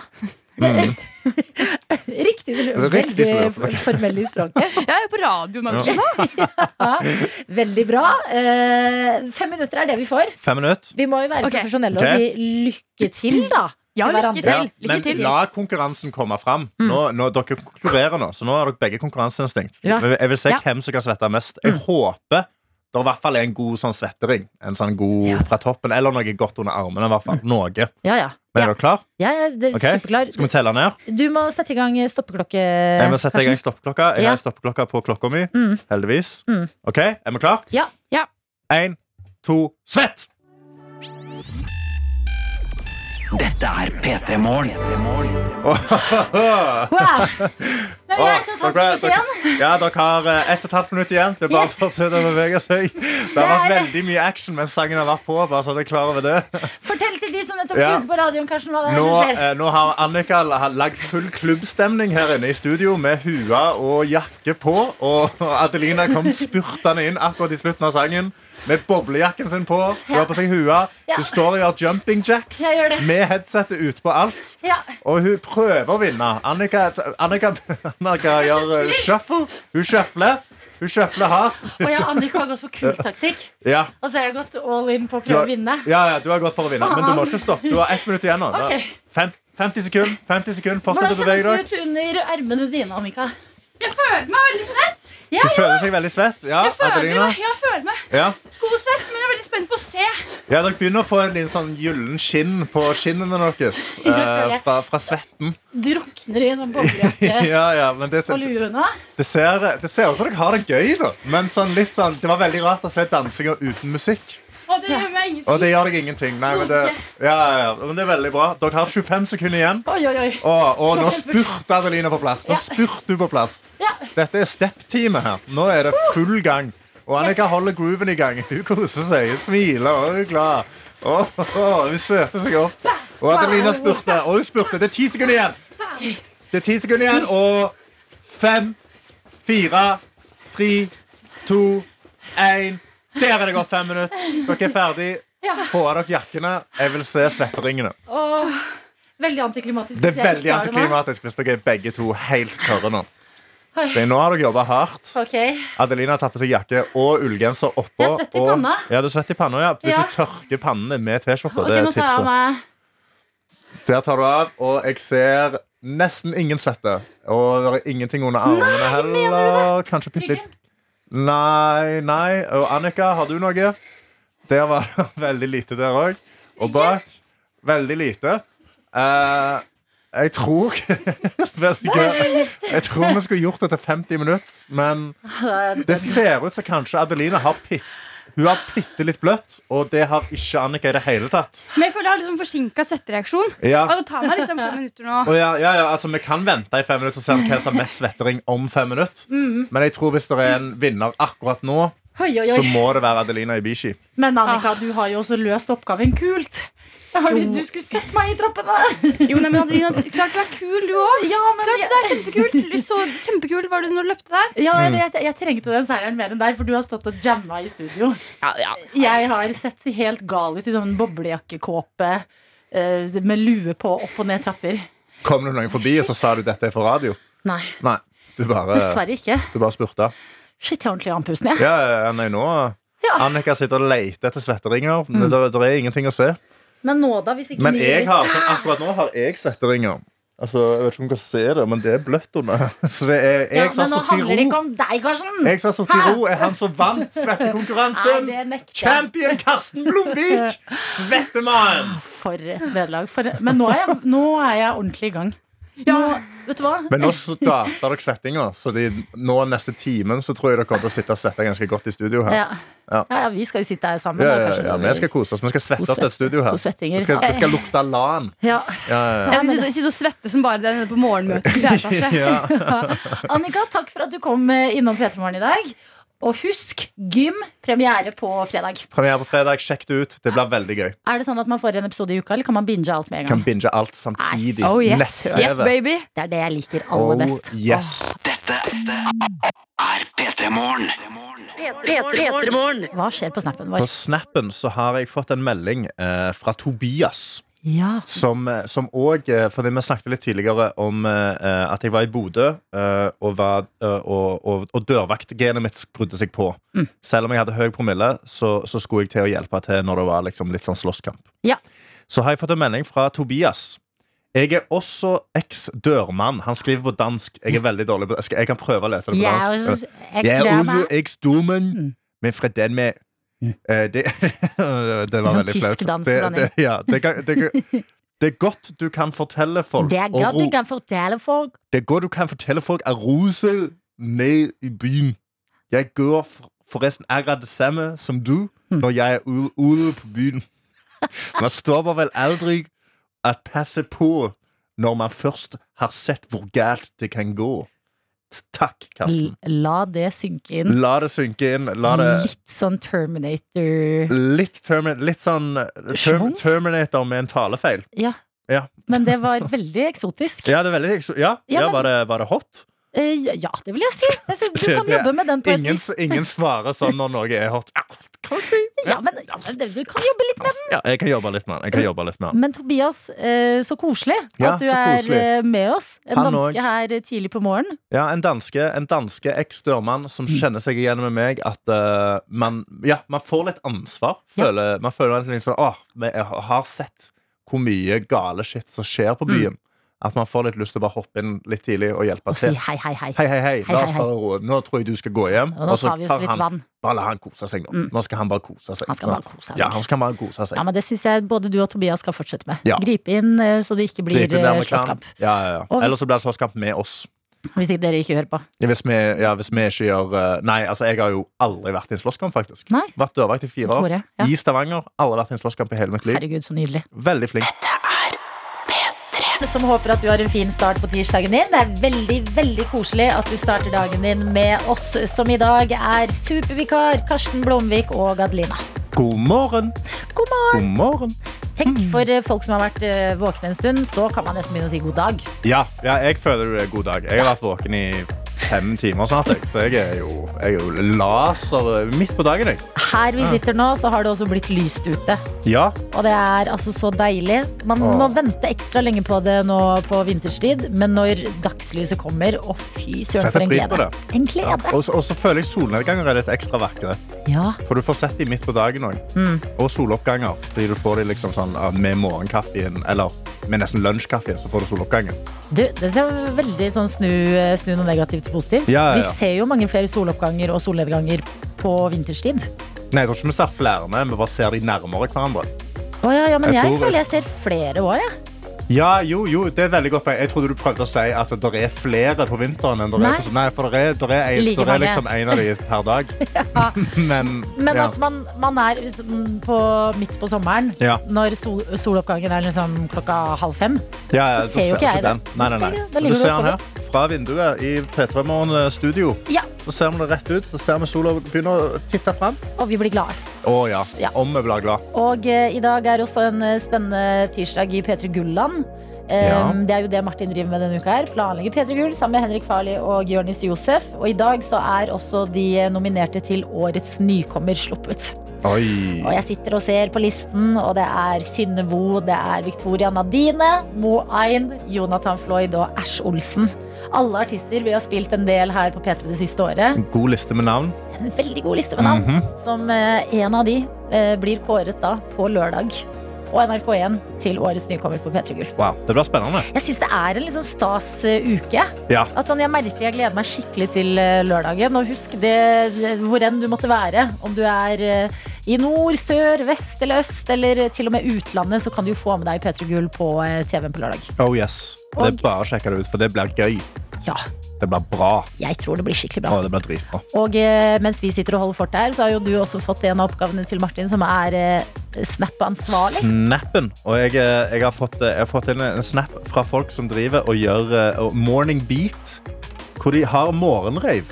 C: Mm.
B: Riktig så lurt.
C: Riktig så
B: Veldig
C: lurt.
B: formell i språket.
J: Jeg er jo på radioen liksom.
C: Ja.
J: allerede.
B: Ja, veldig bra. Eh, fem minutter er det vi får.
A: Fem minutter.
B: Vi må jo være
J: Ok.
B: profesjonelle
C: Ok.
B: og si lykke til, da.
J: Ja, lykke
B: hverandre.
J: til.
C: Men la konkurransen komme fram.
B: Mm.
C: Nå, nå, dere konkurrerer nå, så nå har dere begge konkurranseinstinkt.
B: Ja.
C: Men Jeg vil se
B: Ja. Mm.
C: hvem som kan svette mest. Jeg håper det i hvert fall er en god sånn svettering. En sånn god fra toppen, Eller noe godt under armene. i hvert fall. Noe. Men
B: Mm. Ja, ja.
C: Er dere klar?
B: Jeg er det er
C: Ok,
B: superklar.
C: Skal vi telle ned?
B: Du må sette i gang stoppeklokke.
C: Jeg må sette i gang
B: Karsten.
C: stoppeklokka. Jeg
B: Eh, Ja.
C: har stoppeklokka på klokka mi.
B: Mm.
C: Heldigvis.
B: Mm.
C: OK, er vi klar?
B: Ja.
C: Én, to, svett!
F: Dette er P3 Morgen.
B: Wow. Nå er
C: Åh,
B: det tatt
C: dere-
B: litt igjen.
C: dere- Ja, dere har eh, ett og et halvt minutt igjen. Det er bare
B: Yes.
C: å fortsette å bevege seg. Det har vært veldig mye action mens sangen har vært på. Bare så dere er klar over det.
B: Fortell til de som nettopp
C: Ja.
B: skrudde på radioen, Karsten, hva det er
C: Nå,
B: som skjer.
C: eh, nå har Annika l- har lagd full klubbstemning her inne i studio med hua og jakke på. Og Adelina kom spurtende inn akkurat i slutten av sangen med boblejakken sin på. Hun har på seg hua.
B: Ja.
C: Hun står og gjør jumping jacks
B: Jeg gjør det.
C: med headsetet utpå alt.
B: Ja.
C: Og hun prøver å vinne. Annika, Annika, Annika gjør eh, shuffle. Hun sjøfler. Hun sjøfler hardt.
B: Og jeg og Annika har gått for kultaktikk.
C: Ja.
B: Og så har jeg gått all in på å
C: Du
B: prøve
C: har,
B: å vinne.
C: ja, ja, du har gått for å vinne, men du må ikke stoppe. Du har ett minutt igjen nå.
B: Ok.
C: Fem, 50 sekunder. 50 sekunder. Fortsett
B: Hvordan
C: å bevege dere.
B: kjennes det ut under ermene dine, Annika?
J: Jeg føler meg veldig svett.
C: Du føler seg veldig svett? Ja,
J: Jeg føler,
C: Adelina?
J: meg, jeg føler meg
C: Ja.
J: god svett, men jeg er veldig spent på å se.
C: ja, dere begynner å få en liten sånn gyllen skinn på skinnene deres
B: føler
C: eh,
B: jeg.
C: fra, fra svetten.
B: Drukner i en sånn boblejakke
C: Ja, ja, men det,
B: og
C: ser-
B: lue nå?
C: det ser det ser ut som dere har det gøy, da. Men sånn, litt sånn, det var veldig rart å se dansinga uten musikk.
J: Og det gjør meg ingenting.
C: Og det gjør deg ingenting. Nei, men det, ja, ja, ja, men det er veldig bra. Dere har 25 sekunder igjen.
B: Oi, oi, oi.
C: Å, å, nå spurte Adelina på plass. Nå spurte du på plass.
B: Ja.
C: Dette er step-teamet her. Nå er det full gang. Og Annika holder grooven i gang. Hun koser seg, hun smiler og hun er glad. Å, å, å, hun søter seg opp. Og Adelina spurte, og hun spurte. Det er ti sekunder igjen. Det er ti sekunder igjen, og fem, fire, tre, to, én. Der er det gått fem minutter. Dere er ferdig. Få av dere jakkene. Jeg vil se svetteringene.
B: Åh, veldig antiklimatisk.
C: Det
B: hvis
C: er
B: jeg ikke
C: veldig
B: klarer det nå.
C: antiklimatisk hvis dere er begge to helt tørre nå.
B: Oi.
C: Det er nå har dere jobba hardt.
B: Ok.
C: Adelina tar på seg jakke og ullgenser oppå.
B: Jeg er svett i
C: og-
B: panna.
C: Ja, du er svett i panna, ja. Hvis
B: Ja.
C: du tørker pannene med T-skjorta.
B: Ok,
C: det er
B: nå tar jeg av
C: tipset.
B: meg
C: Der tar du av, og jeg ser nesten ingen svette. Og det er ingenting under armene heller. Kanskje bitte litt Nei, nei. Og Annika, har du noe? Der var det veldig lite der òg. Og bak veldig lite. Eh, jeg tror Veldig gøy. Jeg tror vi skulle gjort det til 50 minutter, men det ser ut som kanskje Adeline har pitt. Hun har bitte litt bløtt, og det har ikke Annika i det hele tatt.
J: Men jeg føler jeg har liksom forsinka svettereaksjon.
C: Ja.
J: Og det tar meg liksom fem minutter nå.
C: Å, ja, ja, ja, altså, vi kan vente i fem minutter og se hvem som har mest svettering om fem minutter.
B: Mhm.
C: Men jeg tror hvis det er en vinner akkurat nå,
B: Oi, oi,
C: så
B: oi.
C: må det være Adelina Ibishi.
B: Men Annika, du har jo også løst oppgaven kult. Jeg har- Du skulle sett meg i trappene!
J: Jo, nei, men Adelina, du klarte å være kul, du òg.
B: Ja, men jeg,
J: Det er kjempekult. Du Så kjempekult var du når du løpte der.
B: ja, jeg,
C: Mm.
B: vet, jeg trengte den seieren mer enn deg, for du har stått og jamma i studio. Jeg har sett helt gal ut i sånn boblejakkekåpe eh, med lue på opp og ned trapper.
C: Kom det noen forbi, og så sa du dette er for radio?
B: Nei,
C: Nei, du bare,
B: dessverre ikke.
C: du bare spurte.
B: Shit, jeg er ordentlig andpusten, jeg.
C: Ja, ja, ja, nei, nå Annika sitter og leter etter
B: Mm.
C: svetteringer. Det, det er ingenting å se.
B: Men nå, da, hvis ikke
C: Men sånn-
B: ni-
C: jeg har, sånn, akkurat nå har jeg svetteringer. Altså, jeg vet ikke om dere ser det, men det er bløtt under. Så det er
B: Ja,
C: jeg som
B: men nå
C: har sittet
B: handler det
C: i
B: ikke
C: ro.
B: om deg, Karsten.
C: Jeg som har sittet i
B: Hæ?
C: ro, er han som vant svettekonkurransen.
B: Nei, det nekter jeg.
C: Champion Karsten Blomvik! Svettemann!
B: For et nederlag. For... Men nå er, jeg, nå er jeg ordentlig i gang. Nå, vet du hva?
C: Men nå starter dere svettinga, så de, nå neste timen så tror jeg dere kommer til å sitte og svette ganske godt i studio her.
B: Ja.
C: Ja.
B: Ja, ja, vi skal jo sitte her sammen.
C: Ja,
B: da,
C: ja,
B: kanskje det
C: ja, men jeg skal
B: blir-
C: kose oss. Vi skal svette
B: God
C: opp dette
B: svett-
C: studioet
B: god
C: her.
B: svettinger.
C: Det skal, det skal lukte lan.
B: Ja.
C: Ja, ja, ja.
J: Jeg sitter, sitter og svetter som bare det nede på morgenmøtet. altså. til kjæresten.
B: Annika, takk for at du kom eh, innom P3 Morgen i dag. Og husk gym, premiere på fredag.
C: Premiere på fredag. Sjekk det ut. Det blir veldig gøy.
B: Er det sånn at man får en episode i uka, eller kan man binge alt med en gang?
C: Kan binge alt samtidig.
B: Oh, yes.
C: Nett-TV.
B: Yes, baby. Det er det jeg liker aller
C: Oh,
B: best.
C: yes.
E: Dette er P3 Morgen. P3 Morgen.
B: Hva skjer på snappen
C: På
B: vår?
C: Snappen så har jeg fått en melding eh, fra Tobias.
B: Ja.
C: Som, eh, som òg eh, Fordi vi snakket litt tidligere om eh, at jeg var i Bodø, eh, og, var, eh, og, og, og dørvaktgenet mitt skrudde seg på. Selv om jeg hadde høy promille, så, så skulle jeg til å hjelpe til når det var liksom, litt sånn slåsskamp.
B: Ja.
C: Så har jeg fått en melding fra Tobias. Jeg er også eks-dørmann. Han skriver på dansk. Jeg er veldig dårlig på dansk. Jeg kan prøve å lese det på
B: Jeg er
C: dansk.
B: også
C: Jeg er også
B: ekstrem.
C: eks-domen,
B: Mm.
C: men fra Danmark. Eh, det, det var
B: Sånn
C: veldig flaut.
B: tysk-dansk
C: Det,
B: blanding.
C: det, ja, det, kan- det, kan- det er godt du kan fortelle folk
B: Det er
C: å
B: godt
C: ro-
B: du kan fortelle folk.
C: det er godt du kan fortelle folk å ruse ned i byen. Jeg gjør for- forresten akkurat det samme som du
B: Hm.
C: når jeg er u- ude på byen. Man stopper vel aldri å passe på når man først har sett hvor galt det kan gå. Takk, Karsten.
B: L- La det synke inn.
C: La det synke inn. La det
B: Litt sånn Terminator
C: Litt, termi- litt sånn term,
B: Schwung?
C: Terminator med en talefeil.
B: Ja.
C: Ja.
B: Men det var veldig eksotisk.
C: Ja, det er veldig, ja,
B: Ja,
C: ja,
B: men-
C: var, det, var det hot?
B: Eh, Ja, det vil jeg si. Jeg synes Du
C: Det-
B: kan
C: det er
B: jobbe med den på et
C: Ingen,
B: vis.
C: ingen svarer sånn når noe er hot. Ja, Kan jeg si.
B: Ja, men, ja, men det- du kan jobbe litt med
C: Ja, jeg kan jobbe litt med den. Jeg kan jobbe litt med
B: den.
C: den.
B: Men Tobias, eh, så koselig
C: Ja,
B: at du
C: så
B: er
C: koselig.
B: eh, med oss. En
C: Han
B: danske
C: også.
B: her eh, tidlig på morgenen.
C: Ja, en danske, en danske eks-dørmann som
B: Mm.
C: kjenner seg igjen med meg at eh, man, ja, man får litt ansvar. Føler, Man føler litt sånn Åh, men jeg har sett hvor mye gale shit som skjer på byen. At man får litt lyst til å bare hoppe inn litt tidlig og
B: Mm.
C: hjelpe
B: Og si
C: til.
B: hei, hei, hei.
C: Hei, hei, hei.
B: Hei,
C: La oss
B: hei, hei.
C: bare roe. Nå tror jeg du skal gå hjem.
B: Og nå
C: og så
B: tar vi oss
C: tar
B: litt
C: han-
B: vann. Mm.
C: Bare la han kose seg nå. Nå skal han bare kose seg.
B: Han skal bare
C: Sant?
B: kose seg.
C: Ja, han skal bare kose seg.
B: Ja, men Det syns jeg både du og Tobias skal fortsette med.
C: Ja.
B: Gripe inn eh, så det ikke blir
C: Drikke det
B: eh,
C: amerikan-
B: slåsskamp.
C: Ja, ja,
B: Og
C: ja.
B: hvis-
C: Eller så blir det slåsskamp med oss.
B: Hvis ikke dere ikke hører på.
C: Ja, Hvis vi, ja, hvis vi ikke gjør eh, Nei, altså, jeg har jo aldri vært i en slåsskamp, faktisk.
B: Nei.
C: Vært dørvakt i fire
B: Tore,
C: år.
B: ja.
C: I Stavanger. Aldri vært i en slåsskamp i hele mitt liv.
B: Herregud, så nydelig.
C: Veldig flink.
B: Som håper at du har en fin start på tirsdagen din. Det er veldig veldig koselig at du starter dagen din med oss, som i dag er supervikar Karsten Blomvik og Adelina.
C: God morgen.
B: God morgen!
C: God morgen.
B: Tenk for eh, folk som har vært eh, våkne en stund, så kan man nesten begynne å si god dag.
C: Ja, ja, jeg føler det er god dag. Jeg har vært våken i fem timer snart, jeg. så jeg er jo, jeg er jo laser midt på dagen, jeg.
B: Her
C: Ah.
B: vi sitter nå, så har det også blitt lyst ute.
C: Ja.
B: Og det er altså så deilig. Man
C: Ah.
B: må vente ekstra lenge på det nå på vinterstid, men når dagslyset kommer, å fy søren,
C: Setter
B: for en
C: pris på
B: glede. En glede.
C: Og så- og så føler jeg solnedganger er litt ekstra vakre.
B: Ja.
C: For du får sett de midt på dagen òg.
B: Mm.
C: Og soloppganger. Fordi du får de liksom sånn ah, med morgenkaffen, eller med nesten lunsjkaffen, så får du soloppgangen.
B: Du, det ser jo veldig sånn snu, snu noe negativt til positivt.
C: Ja, ja, ja.
B: Vi ser jo mange flere soloppganger og solnedganger på vinterstid.
C: Nei, jeg tror ikke vi ser flere, men vi bare ser de nærmere hverandre.
B: Å ja, ja, men jeg,
C: Jeg tror-
B: føler jeg ser flere òg, jeg.
C: Ja, jo, jo, det er et veldig godt poeng. Jeg trodde du prøvde å si at det er flere på vinteren enn det
B: Nei.
C: er på Nei, for det er, der er, en,
B: Like
C: der er
B: mange.
C: liksom en av de per dag. Men,
B: Men
C: ja.
B: at man, man er sånn på, midt på sommeren,
C: Ja.
B: når sol, soloppgangen er liksom klokka halv fem.
C: Ja, ja,
B: så
C: du
B: ser jo ikke jeg det.
C: den. Nei, nei,
B: Du ser det. Da
C: nei.
B: ligger du
C: Du
B: og
C: ser den
B: sover.
C: her fra vinduet i P3 Morgen eh, studio.
B: Ja,
C: Så ser vi det rett ut. Så ser vi sola begynne å titte fram.
B: Og vi blir glade.
C: Å ja.
B: Ja.
C: Om vi blir glad.
B: Og eh, i dag er også en eh, spennende tirsdag i P3 Gulland. Eh,
C: Ja.
B: Det er jo det Martin driver med denne uka. her Planlegger P3 Gull sammen med Henrik Farli og Jonis Josef. Og i dag så er også de eh, nominerte til Årets nykommer sluppet.
C: Oi.
B: Og jeg sitter og ser på listen, og det er Synne Vo, det er Victoria Nadine, Mo Ayn, Jonathan Floyd og Ash Olsen. Alle artister vi har spilt en del her på P3 det siste året.
C: En god liste med navn.
B: En veldig god liste med navn.
C: Mhm.
B: Som eh, en av de eh, blir kåret da på lørdag. På og NRK1 til årets nykommer på P3 Gull.
A: Wow, det blir spennende.
B: Jeg syns det er en litt sånn stas eh, uke.
A: Ja.
B: At sånn, jeg merker jeg gleder meg skikkelig til eh, lørdagen. Og husk det det- hvor enn du måtte være. Om du er eh, i nord, sør, vest eller øst, eller til og med utlandet, så kan du jo få med deg P3 Gull på eh, TV-en på lørdag.
C: Oh yes. Det er
B: Og-
C: bare å sjekke det ut, for det blir gøy.
B: Ja.
C: Det blir bra.
B: Jeg tror det blir skikkelig bra.
C: Å, det blir dritbra.
B: Og eh, mens vi sitter og holder fort her, så har jo du også fått en av oppgavene til Martin, som er eh, snap-ansvarlig.
C: Snappen. Og jeg, eh, jeg, har fått, eh, jeg har fått inn en snap fra folk som driver og gjør eh, og morning beat, hvor de har morgenreiv.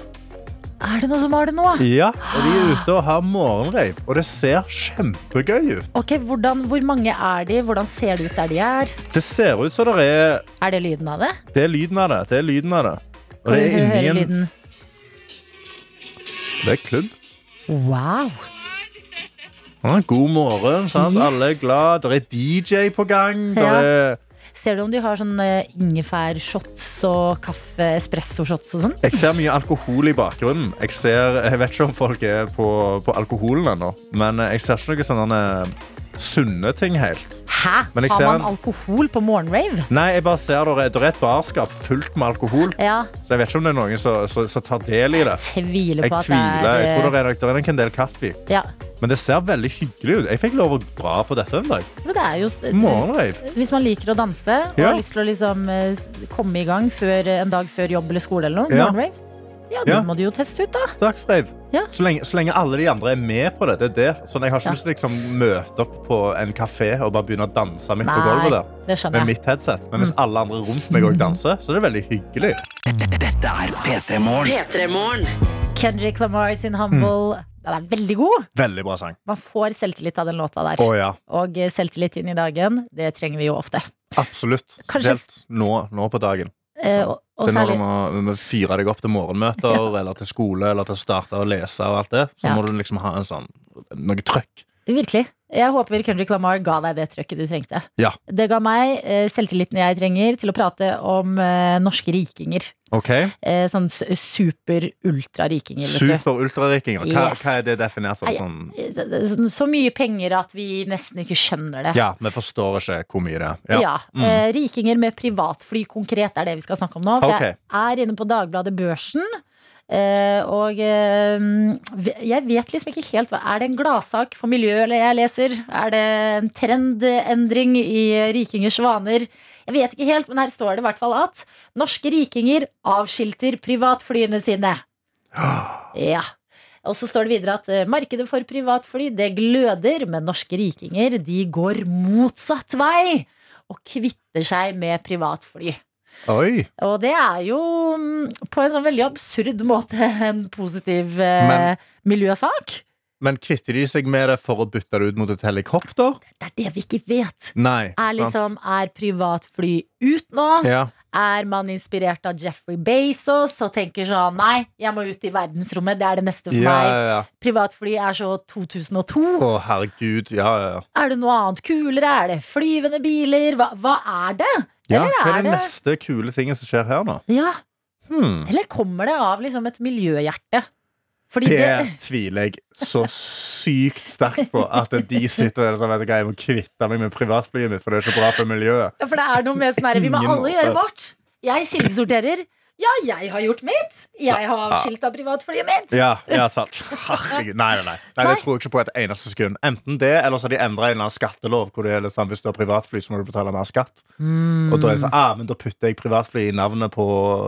B: Er det noen som har det nå?
C: Ja, og de er ute og har morgenreiv, og det ser kjempegøy ut.
B: Ok, hvordan, Hvor mange er de? Hvordan ser det ut der de er?
C: Det ser ut som det er
B: Er det lyden av det?
C: Det er lyden av det. Det er lyden av det. Og
B: Kan
C: det
B: vi
C: er
B: høre
C: inni en
B: lyden?
C: Det er klubb.
B: Wow.
C: Ja, god morgen. Sant? Alle er glad. Det er DJ på gang. Der
B: Ja.
C: er
B: Ser du om de har sånn eh, ingefærshots og kaffe espresso-shots og sånn?
C: Jeg ser mye alkohol i bakgrunnen. Jeg, ser, jeg vet ikke om folk er på, på alkoholen ennå. Men jeg ser ikke noen sånne sunne ting helt.
B: Hæ?
C: Men jeg
B: Har
C: ser
B: man
C: en-
B: alkohol på morgenrave?
C: Nei, jeg bare ser der, er- der er et barskap fullt med alkohol.
B: Ja.
C: Så jeg vet ikke om det er noen som- som som tar del i det.
B: Tviler
C: Jeg
B: på at det
C: tviler.
B: er
C: Jeg
B: eh,
C: tror det er, nok- der er nok en del kaffe.
B: Ja.
C: Men det ser veldig hyggelig ut. Jeg fikk lov å dra på dette en dag.
B: Men det er jo
C: Morgenrave.
B: Hvis man liker å danse og
C: Ja.
B: har lyst til å liksom, eh, komme i gang før, eh, en dag før jobb eller skole, eller noe,
C: Ja.
B: morgenrave, ja,
C: Ja.
B: den må du jo teste ut, da.
C: Dagsreiv.
B: Ja.
C: Så, lenge, så lenge alle de andre er med på det. det, er det. Sånn, jeg har ikke
B: Ja.
C: lyst til å liksom, møte opp på en kafé og bare begynne å danse midt på
B: Nei, Mm.
C: gulvet der.
B: det skjønner jeg.
C: Med mitt headset. Men hvis alle andre rundt meg òg danser, så er det veldig hyggelig.
E: Dette er P3 Morgen.
B: Kendrick Lamar sin Humble.
C: Mm.
B: Den er veldig god.
C: Veldig bra sang.
B: Man får selvtillit av den låta der.
C: Å ja.
B: Og eh, selvtillit inn i dagen, det trenger vi jo ofte.
C: Absolutt.
B: Kanskje-
C: Spesielt nå, nå på dagen.
B: Eh, og, og
C: Det er når du
B: særlig
C: må, du må fyre deg opp til morgenmøter eller til skole eller til å starte å lese. og alt det Så
B: Ja.
C: må du liksom ha en sånn, noe trøkk.
B: Virkelig. Jeg håper Kendrick Lamar ga deg det trøkket du trengte.
C: Ja.
B: Det ga meg eh, selvtilliten jeg trenger til å prate om eh, norske rikinger.
C: OK?
B: Eh, sånn s- super-ultra-rikinger. vet du. Eh,
C: Super-ultrarikinger. Hva,
B: Yes.
C: hva er det definert som?
B: Nei,
C: Sånn,
B: så, så mye penger at vi nesten ikke skjønner det.
C: ja, vi forstår ikke hvor mye det er.
B: Ja,
C: Mm.
B: eh, Rikinger med privatfly konkret er det vi skal snakke om nå. For Altså,
C: Ok.
B: jeg er inne på Dagbladet Børsen. eh, og eh, jeg vet liksom ikke helt hva Er det en gladsak for miljøet eller jeg leser? Er det en trendendring i rikingers vaner? Jeg vet ikke helt, men her står det i hvert fall at norske rikinger avskilter privatflyene sine. Ja. Og så står det videre at eh, markedet for privatfly det gløder, men norske rikinger de går motsatt vei og kvitter seg med privatfly.
C: Oi!
B: Og det er jo mm, på en sånn veldig absurd måte en positiv eh,
C: Men-
B: miljøsak.
C: Men kvitter de seg med det for å bytte det ut mot et helikopter?
B: Det er det vi ikke vet.
C: Nei.
B: Er liksom, er privatfly ut nå?
C: sant? Ja.
B: Er man inspirert av Jeffrey Bezos og tenker sånn Nei, jeg må ut i verdensrommet. Det er det neste for
C: Ja,
B: meg.
C: ja, ja.
B: Privatfly er så 2002.
C: Å, herregud. Ja, ja, ja.
B: Er det noe annet kulere? Er det flyvende biler? Hva, hva er det?
C: ja.
B: Eller
C: Hva er
B: er
C: det
B: det-
C: neste kule tinget som skjer her, da?
B: Ja,
C: Hmm.
B: Eller kommer det av liksom et miljøhjerte? Fordi
C: Det
B: det,
C: tviler jeg så sykt sterkt på. At de sitter der og sånn, vet du hva, jeg må kvitte meg med privatflyet mitt, for det er ikke bra for miljøet.
B: For det er noe med sånn herre Vi må
C: Ingen
B: alle gjøre
C: måte.
B: vårt. Jeg kildesorterer. Ja, jeg har gjort mitt. Jeg har avskilta privatflyet mitt.
C: Ja, ja, sant. Herregud. Nei, nei, nei. nei, det tror jeg ikke på et eneste sekund. Enten det, eller så har de endra en eller annen skattelov hvor det er litt sånn, hvis du har privatfly, så må du betale mer skatt.
B: Mm,
C: Og da er det sånn, ah, men da putter jeg privatfly i navnet på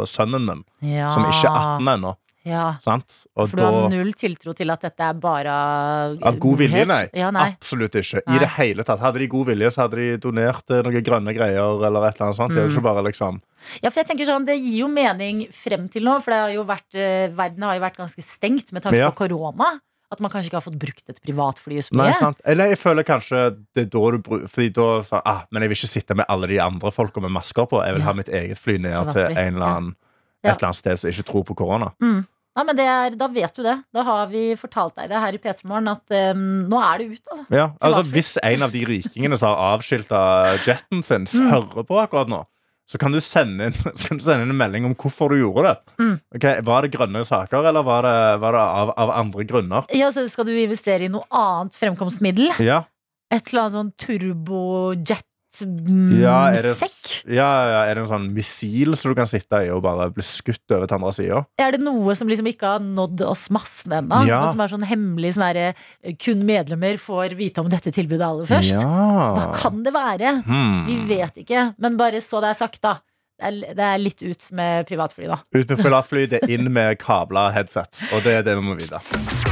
C: sønnen min,
B: Ja.
C: som ikke er 18 ennå.
B: Ja.
C: Sant? Og
B: Ah. For du har
C: da-
B: null tiltro til at dette er bare
C: Av god vilje,
B: godhet?
C: nei.
B: Ja, nei.
C: Absolutt ikke.
B: Nei.
C: I det hele tatt. Hadde de god vilje, så hadde de donert eh, noen grønne greier eller et eller annet sånt. Det er
B: Mm.
C: jo ikke bare liksom
B: Ja, for jeg tenker sånn, Det gir jo mening frem til nå, for det har jo vært, eh, verden har jo vært ganske stengt med tanke
C: Ja.
B: på korona. At man kanskje ikke har fått brukt et privatfly så
C: Nei,
B: mye.
C: sant? Eller jeg føler kanskje det er da du bruker Fordi da sa ah, Men jeg vil ikke sitte med alle de andre folka med masker på. Jeg vil
B: Ja.
C: ha mitt eget fly ned til
B: Privatfly.
C: en eller annen,
B: Ja.
C: et eller annet sted som ikke tror på korona.
B: Mm. Nei, men det er, Da vet du det. Da har vi fortalt deg det her i P3 Morgen at eh, nå er det ut, altså.
C: Ja, altså
B: Privatfly.
C: Hvis en av de rikingene som har avskilta jetten sin,
B: Mm.
C: s- hører på akkurat nå, så kan, du sende inn, så kan du sende inn en melding om hvorfor du gjorde det.
B: Mm.
C: Ok, var det grønne saker, eller var det, var det av, av andre grunner?
B: Ja, så Skal du investere i noe annet fremkomstmiddel?
C: Ja.
B: Et eller annet sånn mm, turbojet-sekk.
C: Ja, er det, ja, ja, er det en sånn missil som du kan sitte i og bare bli skutt over til andre sida?
B: Er det noe som liksom ikke har nådd oss massen ennå?
C: Ja.
B: Og som er sånn hemmelig sånn herre Kun medlemmer får vite om dette tilbudet aller først? Hva kan det være?
C: Hmm.
B: Vi vet ikke. Men bare så det er sagt, da. Det er, det er litt ut med privatfly, da.
C: Ut med privatfly, det er inn med kabla headset. Og det er det vi må vite.